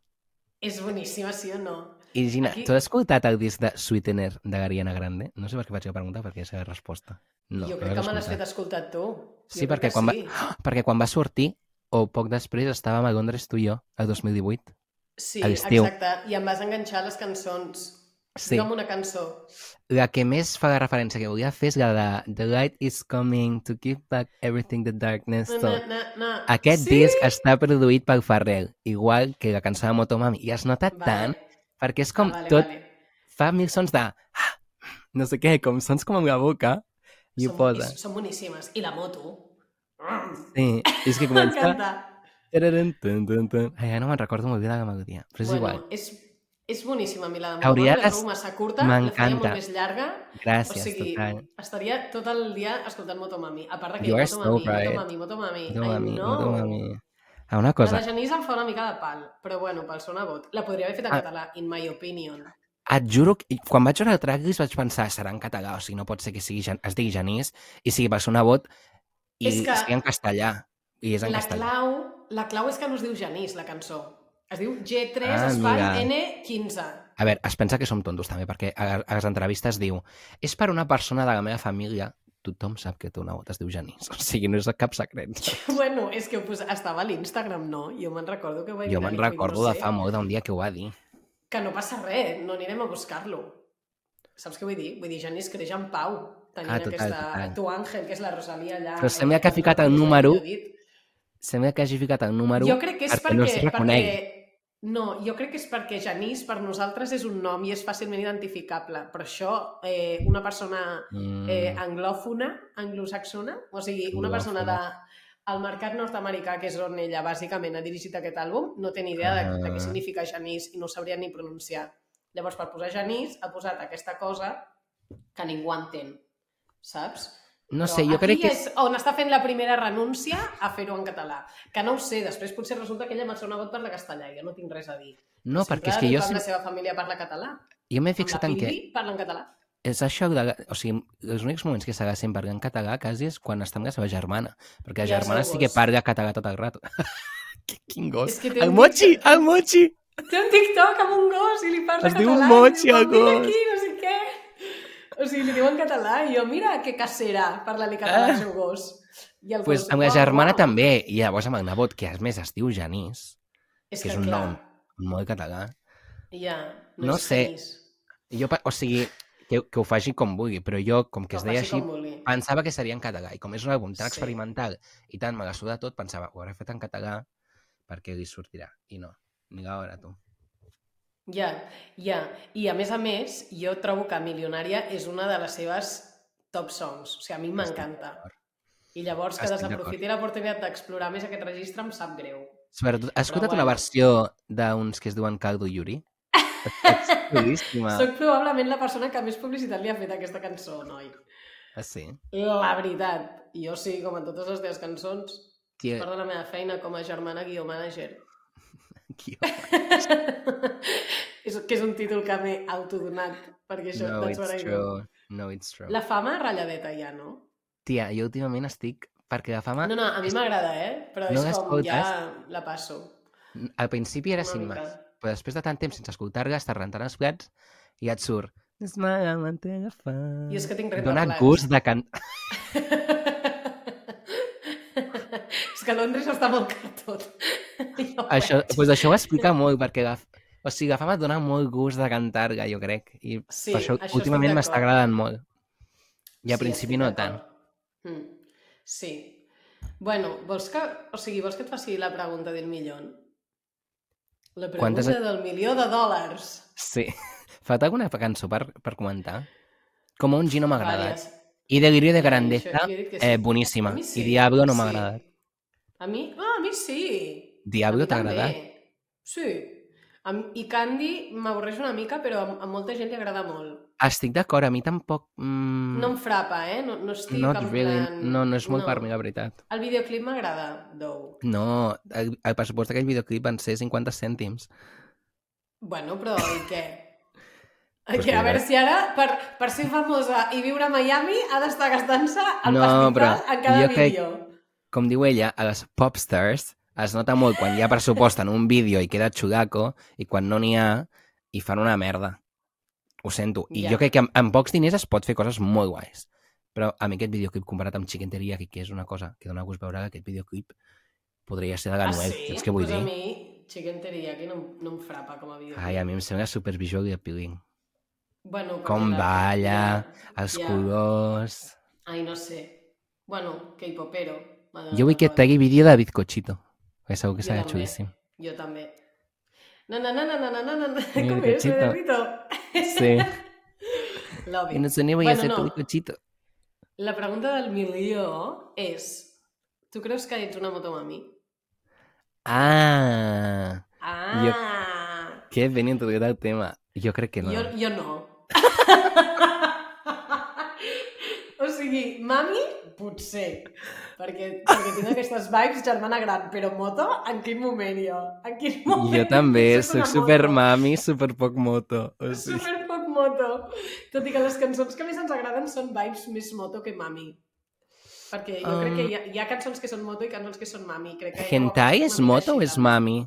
B: És boníssima, sí o no?
A: I Gina,
B: Aquí-
A: tu has escoltat el disc de Sweetener de l'Ariana Grande? No sé per què faig la pregunta, perquè és la resposta. No,
B: jo
A: no
B: crec
A: l'has
B: que me l'has fet
A: escoltat.
B: escoltar tu.
A: Sí,
B: Jo crec
A: perquè
B: que
A: quan va-
B: sí.
A: Perquè quan va sortir, o poc després, estàvem a Londres tu i jo, el 2018.
B: Sí,
A: a l'estiu.
B: exacte. I em vas enganxar les cançons.
A: Sí,
B: Digue'm una cançó.
A: la que més fa la referència que volia fer és la de The light is coming to give back everything the darkness
B: Na,
A: stole.
B: na, na, na.
A: Aquest
B: sí?
A: disc està produït pel Ferrell, igual que la cançó de Motomami. I es nota
B: Vale.
A: tant, perquè és com
B: Ah, vale,
A: tot
B: Vale.
A: fa mil sons de... "Ah", No sé què, com sons com amb la boca, i ho
B: Són-
A: posa.
B: és- Són boníssimes. I la moto. Mm,
A: Sí, és que comença...
B: M'encanta.
A: Tararun, tun, tun, tun. Ai, ara no me'n recordo molt bé de la melodia, però és igual.
B: És, és boníssima a mi la de
A: Hauria
B: Motomami, la
A: de-
B: trobo massa curta, la faria
A: M'encanta.
B: molt més llarga.
A: Gràcies,
B: o sigui,
A: total.
B: estaria tot el dia escoltant Motomami. A part de que
A: You are so
B: Motomami,
A: right.
B: Motomami, Motomami,
A: eh? Motomami,
B: Ai, no.
A: motomami. Ah, una
B: La
A: cosa,
B: de Genís em fa una mica de pal, però bueno, pel sonabot. La podria haver fet en
A: Ah.
B: català, in my opinion.
A: et juro que quan vaig veure el tracklist vaig pensar, serà en català, o sigui, no pot ser que sigui, Gen- es digui Genís i sigui per sonar bot i
B: És que-
A: sigui en castellà. I és en
B: La
A: castellà.
B: clau, la clau és que no es diu Genís, la cançó. Es diu G3
A: Ah,
B: espai
A: mira.
B: N15.
A: A veure, es pensa que som tontos també, perquè a, a les entrevistes diu és per una persona de la meva família, tothom sap que tu una bot es diu Genís, o sigui, no és cap secret.
B: Bueno, és que pues, estava a l'Instagram, no? Jo me'n recordo que ho vaig
A: Jo
B: mirar,
A: me'n
B: dic, "Ui, no
A: recordo de
B: sé".
A: fa molt d'un dia que ho va dir.
B: que no passa res, no anirem a buscar-lo. Saps què vull dir? Vull dir, Genís creix en pau, tenint
A: Ah, total,
B: aquesta...
A: total.
B: Tu, Àngel, que és la Rosalia allà...
A: Però sembla que ha ficat el número Sembla que hagi ficat el número...
B: Jo crec que és
A: perquè no es
B: perquè...
A: reconegui.
B: perquè... No, jo crec que és perquè Genís per nosaltres és un nom i és fàcilment identificable, però això eh, una persona
A: Mm,
B: eh, anglòfona, anglosaxona, o sigui, una persona de, el mercat nord-americà, que és on ella bàsicament ha dirigit aquest àlbum, no té ni idea de, de
A: Ah.
B: què significa Janís i no ho sabria ni pronunciar. Llavors, per posar Janís, ha posat aquesta cosa que ningú entén, saps?
A: No
B: Però
A: sé, jo
B: aquí
A: crec que...
B: és on està fent la primera renúncia a fer-ho en català. Que no ho sé, després potser resulta que ella m'ha sonagut parla castellà i jo no tinc res a dir.
A: No,
B: Si
A: perquè és
B: Prada
A: que
B: i
A: jo,
B: tota
A: sem-
B: La seva família parla català.
A: jo m'he
B: Amb la
A: fixat en que
B: Pimbi parla en català.
A: és això de... O sigui, els únics moments que s'ha sempre en català quasi és quan està amb la seva germana,
B: I
A: perquè la
B: el
A: germana
B: seu
A: sí que
B: gos.
A: parla català tot el rato. Que- Quin gos!
B: És que té
A: El
B: un
A: Mochi! El Mochi!
B: Té un TikTok amb un gos i li parla
A: Es diu
B: català.
A: Mochi,
B: i diu,
A: el
B: "Quan vinc
A: gos."
B: Aquí, no sé què. O sigui, li diu en català i jo, mira, que casera, parla-li català al seu gos. I el
A: Pues
B: gos, "Oh,
A: amb la
B: "Uau,
A: germana
B: uau."
A: també, i llavors amb el nebot, que a més es diu Janís, que és un
B: clar,
A: nom. molt català.
B: Ja, no,
A: No
B: és
A: sé,
B: feliç.
A: Jo, pa- o sigui, que, que ho faci com vulgui, però jo, com que es
B: Però
A: deia
B: faci
A: així,
B: com vulgui.
A: pensava que seria en català, i com és un àlbum tan
B: Sí.
A: experimental i tan me la suda tot, pensava, ho hauré fet en català perquè li sortirà, i no, ni la hora, tu.
B: Ja, ja. I a més a més, jo trobo que Milionària és una de les seves top songs. O sigui, a mi m'encanta.
A: d'acord.
B: I llavors que
A: Estic
B: desaprofiti l'oportunitat d'explorar més aquest registre em sap greu.
A: Sobretot, has escoltat
B: bueno.
A: una versió d'uns que es diuen Caldo i Yuri? És xulíssima.
B: Soc probablement la persona que més publicitat li ha fet a aquesta cançó, noi.
A: Ah, sí?
B: La veritat. Jo sí, com en totes les teves cançons,
A: Tio,
B: part de la meva feina com a germana guió manager.
A: tio.
B: és, que és un títol que m'he autodonat, perquè això
A: No,
B: that's what
A: it's
B: I do.
A: true. No, it's true.
B: La fama ratlladeta ja, no?
A: Tia, jo últimament estic... Perquè la fama...
B: No, no, a mi m'agrada, eh? Però
A: No
B: és com
A: l'escoltes?
B: ja la passo.
A: Al principi era
B: Una
A: sin
B: mica.
A: más, però després de tant temps sense escoltar-la, estàs rentant els plats i et surt... És mala mantega fa...
B: Jo és que tinc
A: Dóna
B: rentaplats.
A: gust de cantar.
B: és que Londres està molt car tot. Jo ho
A: Això,
B: veig.
A: pues això ho explica molt, perquè la... O sigui, la fama et dona molt gust de cantar-la, jo crec. I
B: Sí,
A: sí, per això,
B: això estic
A: últimament m'està
B: d'acord.
A: agradant molt. I al
B: Sí,
A: principi
B: estic
A: no tant.
B: d'acord. Mm. Sí. Bueno, vols que, o sigui, vols que et faci la pregunta del milió? La pregunta
A: Quantes-
B: del milió de dòlars.
A: Sí. Falta alguna cançó per, per comentar? Com un G no m'ha agradat.
B: Vàries.
A: I Delirio de
B: Jo he
A: Grandeza,
B: dit- jo he dit que sí.
A: eh,
B: A
A: boníssima.
B: mi
A: I Diablo no m'ha
B: sí.
A: agradat.
B: A mi? Ah, a mi sí. A mi
A: Diablo t'ha
B: també.
A: agradat?
B: Sí. A mi, I Candy m'avorreix una mica, però a, a molta gent li agrada molt.
A: Estic d'acord, a mi tampoc... Mm,
B: No em frapa, eh? No, no estic
A: not
B: en
A: really.
B: plan...
A: No, no és molt per mi, la veritat.
B: El videoclip m'agrada, though.
A: No, el, el pressupost d'aquell videoclip van ser 50 cèntims.
B: Bueno, però i què?
A: Pues
B: que, a
A: mira.
B: veure si ara, per, per ser famosa i viure a Miami, ha d'estar gastant-se el
A: No,
B: no, pastizal
A: però
B: en cada
A: jo crec-
B: vídeo.
A: Com diu ella, a les popstars es nota molt quan hi ha pressupost en un vídeo i queda xudaco i quan no n'hi ha i fan una merda. Ho sento. I
B: Ja.
A: jo crec que amb, amb pocs diners es pot fer coses molt guais. Però a mi aquest videoclip comparat amb Chiquenteria, que, que és una cosa que dona gust veure aquest videoclip, podria ser de la Noel, saps què vull
B: Ah, pues a
A: dir?
B: mi, Chicken Teriyaki no, em- no em frapa com a videoclip.
A: Ai, a mi em sembla supervisual i appealing.
B: Bueno, perquè
A: Com
B: la-
A: balla,
B: ja,
A: Els
B: ja.
A: colors...
B: Ai, no sé. Bueno, K-popero. Madonna
A: Jo vull que et
B: Noel.
A: tregui vídeo de Bizcochito, que segur que
B: Jo
A: serà
B: també.
A: xulíssim.
B: Jo també. Na, na, na, na, na, na, na, na, na.
A: Mira,
B: Com és,
A: Cachito.
B: Pedrito?
A: Sí.
B: Love
A: I
B: it.
A: no sé ni voy a
B: Bueno,
A: ser
B: no.
A: tu Bizcochito.
B: La pregunta del milió és... Tu creus que ets una motomami?
A: Ah,
B: Ah!
A: que ben introduït el tema. Jo crec que no.
B: Jo, jo no. o sigui, mami, potser. Perquè, perquè tinc aquestes vibes germana gran, però moto, en quin moment jo? En quin moment?
A: Jo també,
B: soc
A: soc
B: una
A: super
B: moto?
A: mami, super poc moto. O sigui,
B: Super poc moto. Tot i que les cançons que més ens agraden són vibes més moto que mami. Perquè jo crec que
A: Um,
B: hi ha, hi ha cançons que són moto i cançons que són mami. Crec que,
A: hentai
B: o-
A: és moto o
B: així,
A: és
B: també.
A: mami?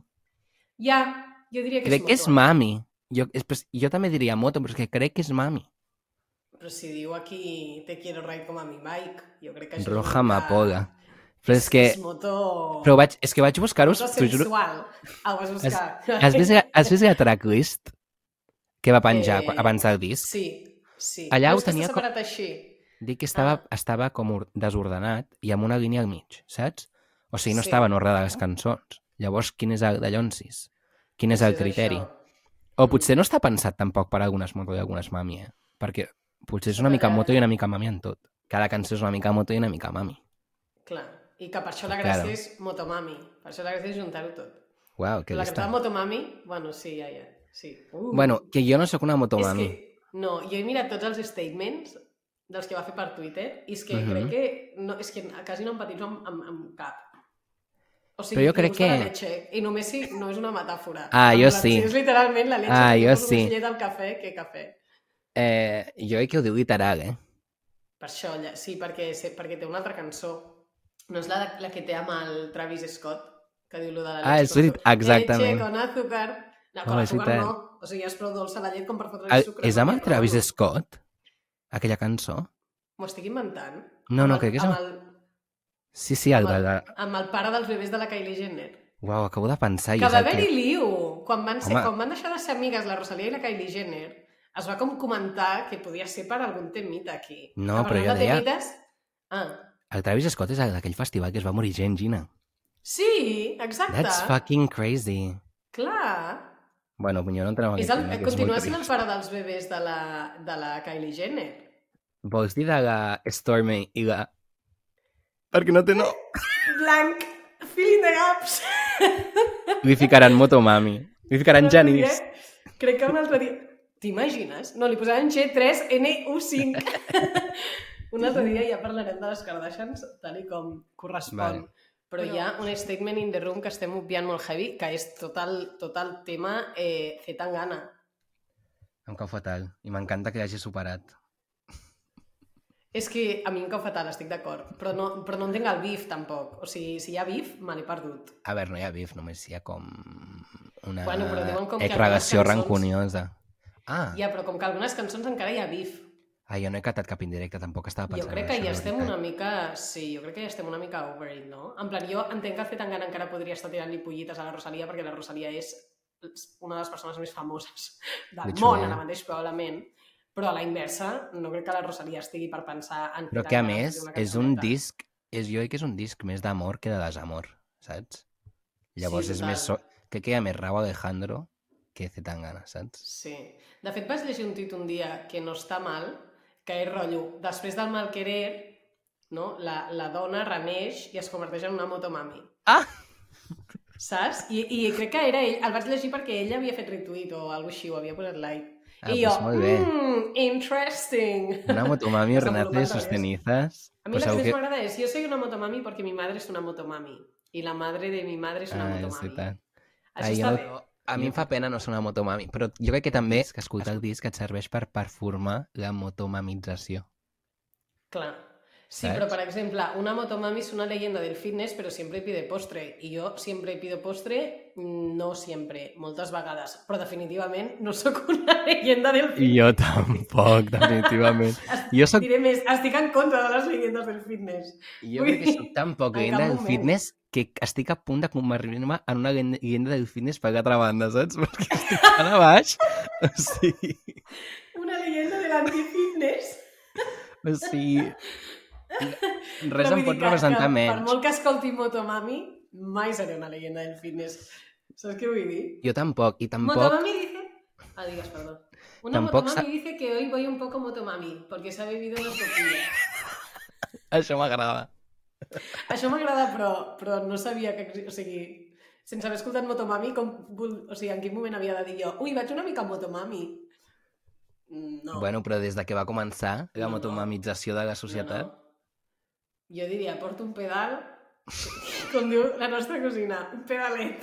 B: Ja, jo diria que
A: Crec que
B: és
A: és
B: moto.
A: mami. Jo, és, pues, jo també diria moto, però és que crec que és mami.
B: Però si diu aquí te quiero ride com a mi bike, jo crec que això...
A: Roja
B: una mica-
A: amapola. Però és que,
B: És moto...
A: però vaig, és que vaig buscar-ho,
B: moto
A: t'ho juro.
B: sensual. Ah, ho vas buscar.
A: Has vist, has vist la tracklist? que va penjar
B: Eh,
A: eh... abans del disc.
B: Sí, sí.
A: Allà
B: Però
A: ho
B: és que
A: tenia
B: Està
A: com-
B: separat així.
A: Dic que estava, ah. estava com or- desordenat i amb una línia al mig, saps? O sigui, no
B: Sí.
A: sí. estaven ordenades les cançons. Llavors, quin és el de Llonsis? Quin és el
B: Potser
A: criteri?
B: això.
A: O potser no està pensat tampoc per algunes moto i algunes mami, eh? Perquè potser és una
B: Eh.
A: mica moto i una mica mami en tot. Cada cançó és una mica moto i una mica mami.
B: Clar. I que per això la gràcia
A: Claro.
B: és Motomami. Per això la gràcia és juntar-ho tot.
A: Uau, que
B: la
A: llista.
B: cantada Motomami, bueno, sí, ja, ja. Sí. Uh.
A: Bueno, que jo no sóc una moto
B: És
A: mami.
B: Que, no, jo he mirat tots els statements dels que va fer per Twitter i és que
A: Mhm.
B: crec que, no, és que quasi no empatitzo amb, amb, amb cap. O sigui,
A: Però jo
B: li
A: crec
B: gusta la
A: que-
B: Leche, I només si no és una metàfora.
A: Ah,
B: En
A: jo
B: plan,
A: sí.
B: Si és literalment la leche.
A: Ah,
B: que
A: jo
B: posa
A: sí.
B: Més llet al cafè que cafè.
A: Eh, jo crec que ho diu Guitarag, eh?
B: Per això, lla- sí, perquè, se- perquè té una altra cançó. No és la, de- la que té amb el Travis Scott, que diu lo de la leche.
A: Ah, és
B: con
A: veritat,
B: azúcar.
A: exactament.
B: Leche con azúcar. No, con
A: Oh, és
B: azúcar
A: veritat.
B: no. O sigui, ja és prou dolça la llet com per fotre-li
A: El,
B: sucre.
A: és amb el
B: perquè
A: Travis
B: no.
A: Scott? Aquella cançó?
B: M'ho estic inventant.
A: No,
B: Amb
A: no,
B: el-
A: crec que és
B: amb
A: amb-
B: el,
A: Sí, sí, el de la...
B: amb el pare dels bebès de la Kylie Jenner.
A: Uau, acabo de pensar. i
B: que
A: és
B: va
A: el
B: haver-hi liu. Quan van, ser,
A: Home.
B: quan van deixar de ser amigues la Rosalia i la Kylie Jenner, es va com comentar que podia ser per algun temita aquí.
A: No,
B: Ah,
A: però
B: parlant
A: jo
B: de
A: deia-
B: Temites... Ah,
A: El Travis Scott és el d'aquell festival que es va morir gent, Gina.
B: sí, exacte.
A: That's fucking crazy.
B: Clar.
A: Bueno, jo no entrem en
B: És
A: aquest
B: el,
A: tema, que és
B: continua
A: molt
B: sent el
A: trist.
B: pare dels bebès de la, de la Kylie Jenner.
A: Vols dir de la Stormy i la... Perquè no té nom.
B: Blanc, filling the gaps.
A: Li ficaran Motomami. Li
B: No
A: ficaran
B: t'ho
A: Janis.
B: diré. Crec que un altre dia... T'imagines? No, li posaven G3NU5. un altre dia ja parlarem de les Kardashians tal i com correspon.
A: Vale.
B: Però hi ha un statement in the room que estem obviant molt heavy, que és tot el, tot el tema eh, fer tan gana.
A: Em cau fatal. I m'encanta que l'hagi superat.
B: És que a mi em cau fatal, estic d'acord. Però, no, però no entenc el bif, tampoc. O sigui, si hi ha bif, me n'he perdut.
A: A veure, no hi ha bif, només hi ha com... Una
B: Bueno, però diuen com que algunes
A: relació
B: cançons-
A: rancuniosa. Ah,
B: Ja, però com que algunes cançons encara hi ha bif.
A: ah, jo no he catat cap indirecte, tampoc estava
B: Jo
A: pensant
B: crec
A: en
B: que
A: això,
B: ja
A: la
B: estem
A: veritat.
B: una mica... Sí, jo crec que ja estem una mica over it, no? En plan, jo entenc que Zetangana encara podria estar tirant-li pollites a la Rosalia perquè la Rosalia és una de les persones més famoses del
A: De
B: món,
A: xulo.
B: ara mateix, probablement. Però a la inversa, no crec que la Rosalia estigui per pensar en...
A: Però
B: fer
A: que a
B: Tangana,
A: més
B: fer una
A: és un
B: cançoneta.
A: disc, és, jo crec que és un disc més d'amor que de desamor, saps? Llavors és
B: total.
A: més... So... Que queda més Rauw Alejandro que Zetangana, saps?
B: Sí. De fet, vaig llegir un tuit un dia que no està mal, que és rotllo, després del mal querer, no? la, la dona reneix i es converteix en una motomami.
A: Ah!
B: Saps? I, I crec que era ell, el vaig llegir perquè ell havia fet retweet o alguna així, ho havia posat like.
A: Ah,
B: I
A: pues
B: jo,
A: molt bé.
B: mmm, interesting.
A: Una motomami
B: Desenvolupant
A: renace de
B: res.
A: sus cenizas.
B: A mi
A: Pues
B: la que
A: algo
B: més
A: que...
B: m'agrada és, jo soy una motomami perquè mi madre és una motomami. I la madre de mi madre és una
A: Ah, és
B: motomami.
A: veritat.
B: Això
A: Ai,
B: està
A: jo-
B: bé.
A: A mi em fa pena no ser una motomami, però jo crec que també és que escoltar el disc et serveix per performar la motomamització.
B: Clar. Sí,
A: Saps?
B: però per exemple, una motomami es una leyenda del fitness, però sempre pide postre. I jo sempre pido postre, mm, no sempre, moltes vegades. Però definitivament no sóc una leyenda del
A: I
B: fitness.
A: jo tampoc, definitivament. Jo soc,
B: Diré més, estic en contra de les llegendes del fitness.
A: jo crec que
B: Ui,
A: soc tan poc
B: en
A: leyenda
B: cap
A: del
B: moment.
A: fitness que estic a punt de convertir-me en una llen- leyenda del fitness per altra banda, saps? Perquè estic tan a baix. O sigui,
B: Una leyenda de l'antifitness.
A: o sigui...
B: Però
A: Res
B: vull
A: em
B: dir
A: pot
B: que-
A: representar
B: que Per
A: menys.
B: molt que escolti Motomami, mai seré una leyenda del fitness. Saps què vull dir?
A: Jo tampoc, i tampoc...
B: Motomami dice... Ah, digas, perdón. Una
A: Tampoc
B: motomami dice que hoy voy un poco motomami, porque se ha bebido unas coquillas.
A: Això m'agrada.
B: Això m'agrada, però, però no sabia que... exi- O sigui, sense haver escoltat Motomami, com, vol- o sigui, en quin moment havia de dir jo ui, vaig una mica a Motomami? Mm, No.
A: Bueno, però des de que va començar la
B: No, no.
A: motomamització de la
B: no,
A: societat...
B: no. Jo diria, porto un pedal, com diu la nostra cosina, un pedalet,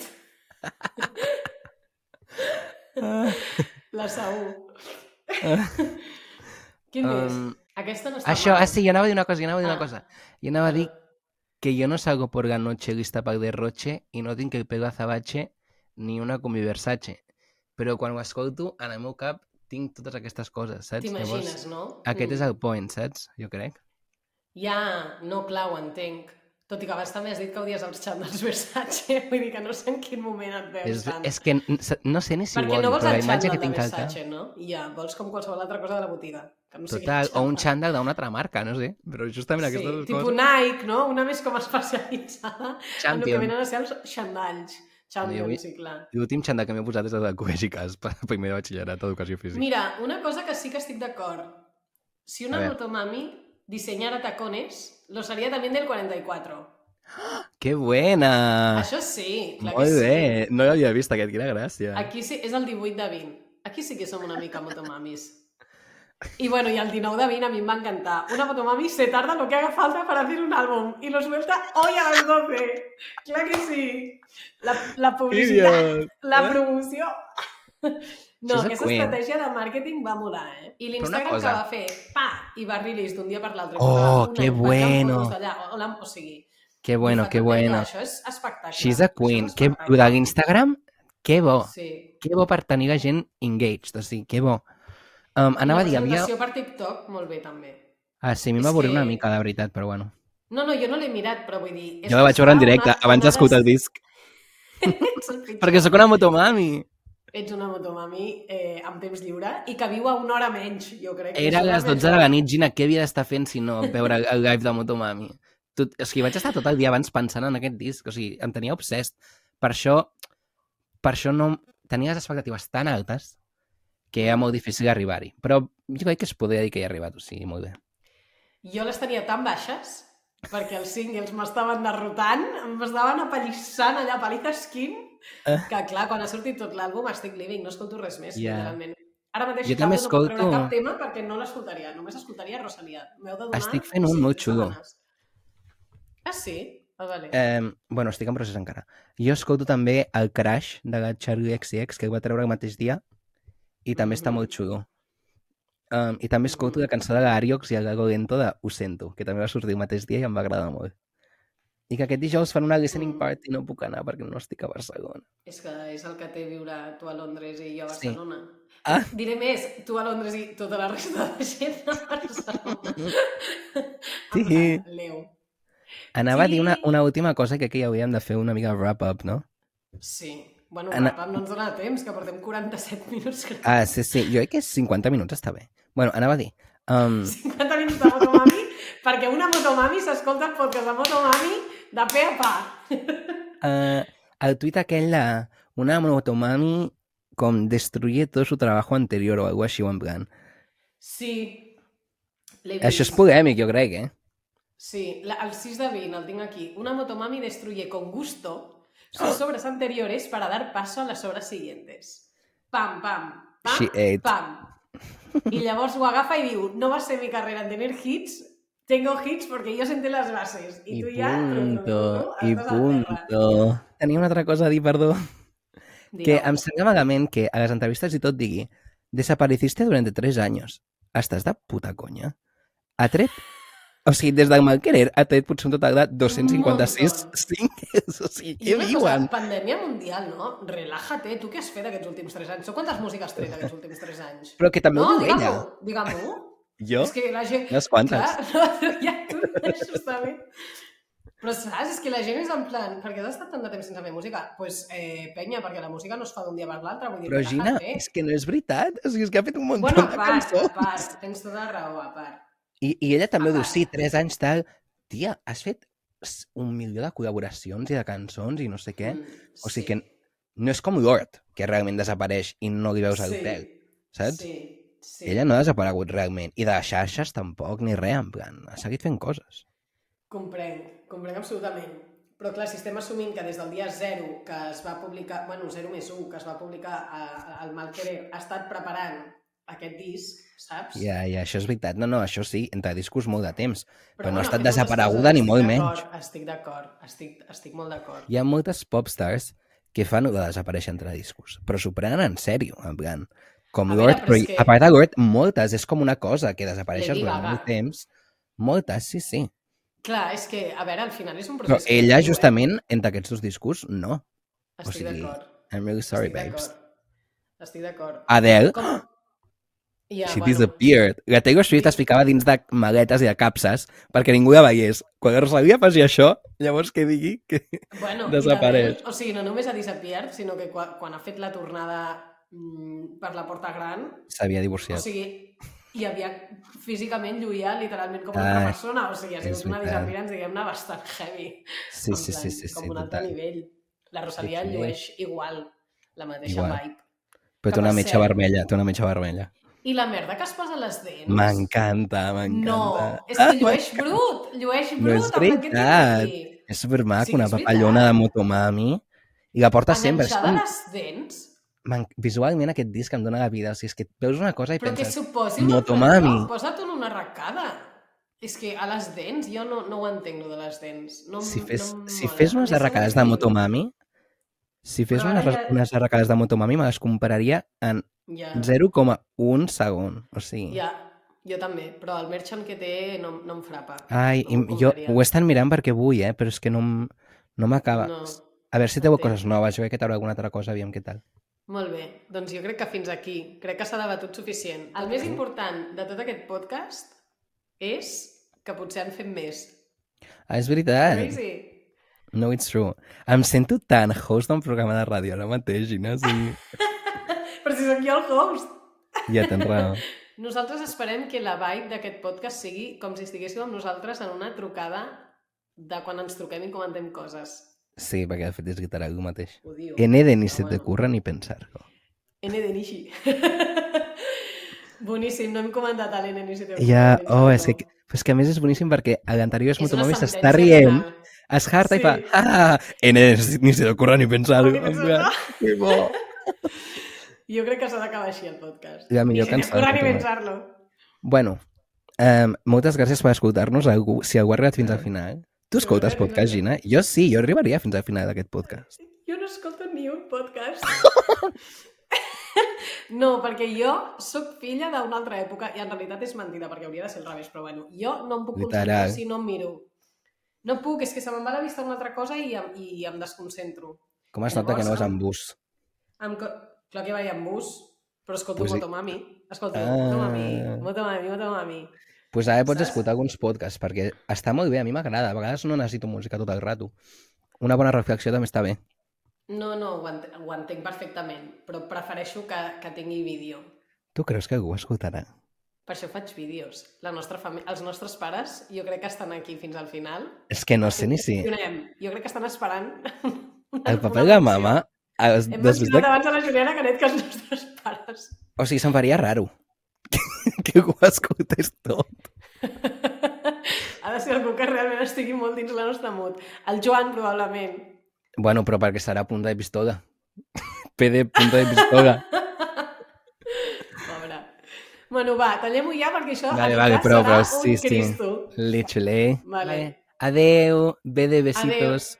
A: Ah,
B: la Saú. Quin més?
A: um,
B: Aquesta no està
A: Això,
B: mal.
A: ah, sí, jo anava a dir una cosa, jo anava a dir
B: Ah.
A: una cosa. Jo anava a dir que yo no salgo por la noche lista para el derroche y no tinc el pelo azabache ni una combi Versace. Però quan ho escolto, en el meu cap tinc totes aquestes coses, saps?
B: T'imagines, no?
A: aquest
B: Mm.
A: és el point, saps? Jo crec.
B: Ja, no, clar, ho entenc. Tot i que abans també has dit que odies els xandals Versace, vull dir que no sé en quin moment et veus
A: És,
B: tant.
A: és que n- s- no sé ni si
B: Perquè
A: ho
B: no
A: odio,
B: vols
A: però la
B: el
A: imatge
B: xandall
A: que
B: de
A: tinc al cap...
B: Versace, no? I ja, vols com qualsevol altra cosa de la botiga. Que no sigui
A: Total, o un
B: xandall.
A: xandall d'una altra marca, no sé. Però justament
B: sí,
A: aquestes
B: tipus
A: coses...
B: Nike, no? Una més com especialitzada en el que
A: Champion.
B: venen a ser els xandalls. Champions,
A: avui-
B: sí, clar.
A: L'últim xandall que m'he posat és el de Cubes i Cas, per primer de batxillerat d'educació física.
B: Mira, una cosa que sí que estic d'acord. Si
A: A
B: una
A: ver.
B: motomami diseñara tacones, lo sería también del 44.
A: Que buena!
B: Això sí, clar
A: Ah. Molt
B: que sí.
A: bé! No l'havia vist aquest, quina gràcia.
B: Aquí sí, és el 18 de 20. Aquí sí que som una mica motomamis. I bueno, i el 19 de 20 a mi em va encantar. Una motomami se tarda lo que haga falta para hacer un álbum y lo suelta hoy a las 12. Clar que sí. La, la publicitat,
A: Idiot.
B: la promoció. No,
A: Això és
B: aquesta
A: coent.
B: estratègia de màrquting va molar, eh? I
A: una
B: l'Instagram
A: cosa-
B: que va fer, pa, i va release d'un dia per l'altre.
A: Oh,
B: posava una,
A: que
B: penjant
A: bueno.
B: fotos d'allà, O, la, o sigui...
A: Que bueno, que
B: l'estratègia,
A: bueno.
B: Això és espectacle.
A: She's a queen.
B: Això és
A: Que,
B: espectacle.
A: lo d'Instagram, que bo.
B: Sí.
A: Que bo per tenir la gent engaged, o sigui, que bo. Um, anava a dir,
B: Una
A: havia...
B: presentació per TikTok, molt bé, també.
A: Ah, sí, a mi
B: És
A: m'avorrí
B: que-
A: una mica, la veritat, però bueno.
B: No, no, jo no l'he mirat, però vull dir...
A: Jo la vaig veure en directe, abans d'escoltar el disc.
B: disc.
A: Perquè sóc una motomami.
B: Ets una motomami eh, amb temps lliure i que viu a una hora menys, jo crec. que
A: Era a
B: això
A: les
B: més
A: 12 de la nit, Gina, què havia d'estar fent si no veure el live de Motomami? Tot, o sigui, vaig estar tot el dia abans pensant en aquest disc, o sigui, em tenia obsessed. Per això, per això no... Tenia les expectatives tan altes que era molt difícil arribar-hi. Però jo crec que es podria dir que hi he arribat, o sigui, molt bé.
B: Jo les tenia tan baixes perquè els singles m'estaven derrotant, m'estaven apallissant allà, paliza skin,
A: Eh.
B: que clar, quan ha sortit tot l'àlbum estic living, no escolto res més,
A: Ja.
B: yeah. literalment. Ara mateix
A: Jo
B: cap
A: també
B: no puc treure
A: escolto-
B: cap tema perquè no l'escoltaria, només escoltaria Rosalia. M'heu de donar...
A: Estic fent un
B: cinc
A: molt xulo.
B: setmanes. Ah, sí? Ah, vale. Eh.
A: Eh, bueno, estic en procés encara. Jo escolto també el Crash de la Charlie XCX, que va treure el mateix dia, i també està
B: Mhm.
A: molt xulo. Um, I també escolto la cançó de l'Ariox i el Gago Lento de Ho sento, que també va sortir el mateix dia i em va agradar molt. I que aquest dijous fan una listening
B: Mm.
A: party i no puc anar perquè no estic a Barcelona.
B: És que és el que té viure tu a Londres i jo a
A: Sí.
B: Barcelona.
A: Ah.
B: Diré més, tu a Londres i tota la resta de gent a Barcelona.
A: Sí.
B: Em fa Leu.
A: Anava a dir una,
B: Sí.
A: una última cosa que aquí hauríem de fer una mica de wrap-up, no?
B: Sí. Bueno,
A: Ana-
B: Ana... Pam, no ens dona temps, que portem 47 minuts. crec.
A: Ah, sí, sí, jo crec que 50 minuts està bé. Bueno, anava a dir... Um,
B: 50 minuts de Motomami, perquè una Motomami s'escolta el podcast de Motomami de pe a pa.
A: Ah, al tuit aquel, la, una motomami con destruye todo su trabajo anterior o algo así, o en plan.
B: Sí. L'he vist.
A: Això és polèmic, jo crec, eh?
B: Sí, la, el 6 de 20 el tinc aquí. Una Motomami destruye con gusto
A: Oh.
B: sus obras anteriores para dar paso a las obras siguientes. Pam, pam, pam,
A: She ate.
B: pam. I llavors ho agafa i diu, no va ser mi carrera en tener hits, tengo hits porque yo senté las bases. I,
A: I
B: tu ja...
A: punto,
B: estàs
A: i
B: a terra.
A: punto. Tenia una altra cosa a dir, perdó. Que
B: Digue-ho.
A: em sembla vagament que a les entrevistes i tot digui desapareciste durante tres años. Estàs de puta conya. Ha tret... O sigui, des del mal querer ha tret potser un total de 256
B: montón.
A: singles. O sigui,
B: I
A: què
B: una
A: diuen?
B: Cosa, pandèmia mundial, no? Relájate, tu què has fet aquests últims 3 anys? O quantes músiques has tret aquests últims 3 anys?
A: Però que també
B: no,
A: ho diu ella.
B: digue-m'ho, digue-m'ho.
A: Jo?
B: És que la gent...
A: Unes quantes.
B: Clar, no, ja, tu, això està bé. Però saps? És que la gent és en plan, per què has estat tant de temps sense fer música? Doncs, pues, eh, penya, perquè la música no es fa d'un dia per l'altre, vull dir,
A: Però Gina,
B: relájate.
A: és que no és veritat. O sigui, és que ha fet un munt
B: Bueno, a
A: de
B: part, a
A: cançons.
B: part, tens tota la raó, a part.
A: I, I ella també
B: a
A: ho diu,
B: part.
A: sí, tres anys tal. Tia, has fet s- un milió de col·laboracions i de cançons i no sé què.
B: Mm,
A: Eh? O sigui que no és com Lord, que realment desapareix i no li veus al sí, hotel, saps?
B: Sí, sí.
A: Ella no ha desaparegut realment. I de les xarxes tampoc, ni res, en plan, ha seguit fent coses.
B: Comprenc, comprenc absolutament. Però clar, si estem assumint que des del dia 0 que es va publicar, bueno, 0 més 1, que es va publicar a, a, el Malquerer, ha estat preparant aquest disc, saps?
A: Ja, ja, això és veritat. No, no, això sí, entre discos molt de temps. però no ha
B: ha
A: estat
B: fet moltes
A: desapareguda ni
B: estic
A: molt
B: d'acord, Estic d'acord, estic, estic molt d'acord.
A: Hi ha moltes popstars que fan de desaparèixer entre discos, però s'ho prenen en sèrio, en plan, com
B: A veure,
A: Lord,
B: però
A: però,
B: és
A: i-
B: que-
A: a part de Lord, moltes, és com una cosa que desapareixes
B: Lady
A: durant
B: Gaga.
A: molt temps, moltes, sí, sí.
B: Clar, és que, a veure, al final és un
A: Però
B: procés...
A: ella,
B: creatiu, eh?
A: justament, entre aquests dos discurs, no.
B: Estic
A: sigui,
B: d'acord.
A: I'm really sorry,
B: estic
A: babes.
B: d'acord. Estic d'acord.
A: Adele,
B: Com... Ja,
A: She
B: bueno.
A: disappeared. La Taylor Swift es ficava dins de maletes i de capses perquè ningú la veiés. Quan la Rosalia faci això, llavors que digui que...
B: Bueno, i
A: Desapareix.
B: també, O sigui, no només ha disappeared, sinó que quan, quan ha fet la tornada mm, per la porta gran,
A: S'havia
B: o
A: divorciat.
B: sigui, hi havia físicament lluïa literalment com
A: Ah,
B: una altra persona, o sigui, ha
A: és
B: sigut una
A: veritat.
B: disappearance, diguem-ne, bastant heavy.
A: Sí,
B: En
A: sí, sí,
B: plan,
A: sí,
B: Com
A: sí,
B: un altre
A: total.
B: nivell. La Rosalia
A: Sí, sí.
B: llueix igual, la mateixa
A: Igual.
B: vibe.
A: Però té
B: Que
A: una
B: per
A: metxa
B: cert-
A: vermella, té una metxa vermella.
B: I la merda que es posa a les dents...
A: M'encanta, m'encanta.
B: No, és que llueix
A: m'encanta.
B: brut, llueix
A: No
B: brut.
A: és
B: amb aquest
A: veritat.
B: nivell.
A: És supermac,
B: Sí que
A: una
B: és veritat.
A: papallona de motomami. I la porta sempre. És
B: Enganxada
A: com...
B: a les dents,
A: m'en- Visualment aquest disc em dóna la vida. O sigui, és que veus una cosa i
B: Però que
A: penses...
B: suposi una
A: "Motomami".
B: arracada, Posa't en una arracada. És que a les dents, jo no, no ho entenc, lo de les dents. No, em-
A: Si fes,
B: no em
A: si
B: mola.
A: fes unes
B: A mi se
A: arracades
B: m'ha
A: de
B: dit-
A: motomami, si fes
B: Però
A: unes,
B: ara ja-
A: unes arracades de motomami, me les compararia en
B: Ja,
A: 0,1 segon. O sigui...
B: ja, jo també, però el merchant que té no, no em frapa.
A: Ai,
B: no
A: i
B: ho
A: jo
B: compraria.
A: ho he estat mirant perquè vull, eh? Però és que no, em- no m'acaba.
B: No.
A: A veure si treu
B: entenc.
A: coses noves. Jo crec que traurà alguna altra cosa, aviam què tal.
B: Molt bé, doncs jo crec que fins aquí. Crec que s'ha debatut suficient. El més important de tot aquest podcast és que potser han fet més.
A: Ah, és veritat.
B: Crazy.
A: No, it's true. Em sento tan host d'un programa de ràdio ara mateix, Gina. Sí.
B: Però si sóc jo el host.
A: Ja tens raó.
B: Nosaltres esperem que la vibe d'aquest podcast sigui com si estiguéssiu amb nosaltres en una trucada de quan ens truquem i comentem coses.
A: Sí, perquè de fet és guitarra algú mateix.
B: Ho diu.
A: En Eden ni
B: Però
A: se t'ocurra ni pensar-ho.
B: N de Nishi. Boníssim, no hem comentat a l'N Nishi.
A: Ja, oh, és que, però és que a més és boníssim perquè a l'anterior es Motomami s'està rient, es harta i fa
B: Sí.
A: ah, en Eden ni se t'ocurra ni pensar-ho.
B: Ni
A: En
B: pensar-ho.
A: plan, Que bo.
B: Jo crec que s'ha d'acabar així el podcast.
A: La millor
B: Ni se
A: cançó
B: t'ocorre ni
A: de Motomami.
B: pensar-lo.
A: Bueno, um, moltes gràcies per escoltar-nos algú, si algú ha arribat fins al final.
B: Jo
A: Tu
B: no he
A: escoltes
B: arribat.
A: podcast, Gina? Jo sí, jo arribaria fins al final d'aquest podcast.
B: Jo no escolto ni un podcast. No, perquè jo sóc filla d'una altra època i en realitat és mentida, perquè hauria de ser al revés, però bueno, jo no em puc concentrar
A: Literal.
B: si no em miro. No puc, és que se me'n va la vista una altra cosa i em, i em desconcentro.
A: Com es nota que no vas amb bus?
B: Em, co- clar que vaig amb bus, però escolto
A: Pues
B: pues
A: sí.
B: Motomami. Escolto,
A: Ah.
B: ah. Motomami, Motomami, Motomami.
A: Doncs pues ara pots
B: Saps?
A: escoltar alguns podcasts, perquè està molt bé, a mi m'agrada. A vegades no necessito música tot el rato. Una bona reflexió també està bé.
B: No, no, ho, ent ho entenc perfectament, però prefereixo que, que tingui vídeo.
A: Tu creus que algú escoltarà?
B: Per això faig vídeos. La nostra fami- els nostres pares, jo crec que estan aquí fins al final.
A: És que no sé ni si...
B: Donem. Jo crec que estan esperant.
A: El paper de la mama... Els,
B: Hem
A: després
B: mencionat
A: de...
B: abans a la Juliana Canet que els nostres pares.
A: O sigui, se'm faria raro. que algú escoltés tot.
B: ha de ser algú que realment estigui molt dins la nostra mut. El Joan, probablement.
A: Bueno, però perquè serà punta de pistola. PD punta de pistola.
B: Pobre. Bueno, va, tallem-ho ja perquè això
A: Vale,
B: en
A: vale,
B: cas,
A: prou,
B: serà
A: prou,
B: un
A: sí, sí.
B: Cristo.
A: Lechule.
B: Vale.
A: Adeu. BD besitos.
B: Adéu.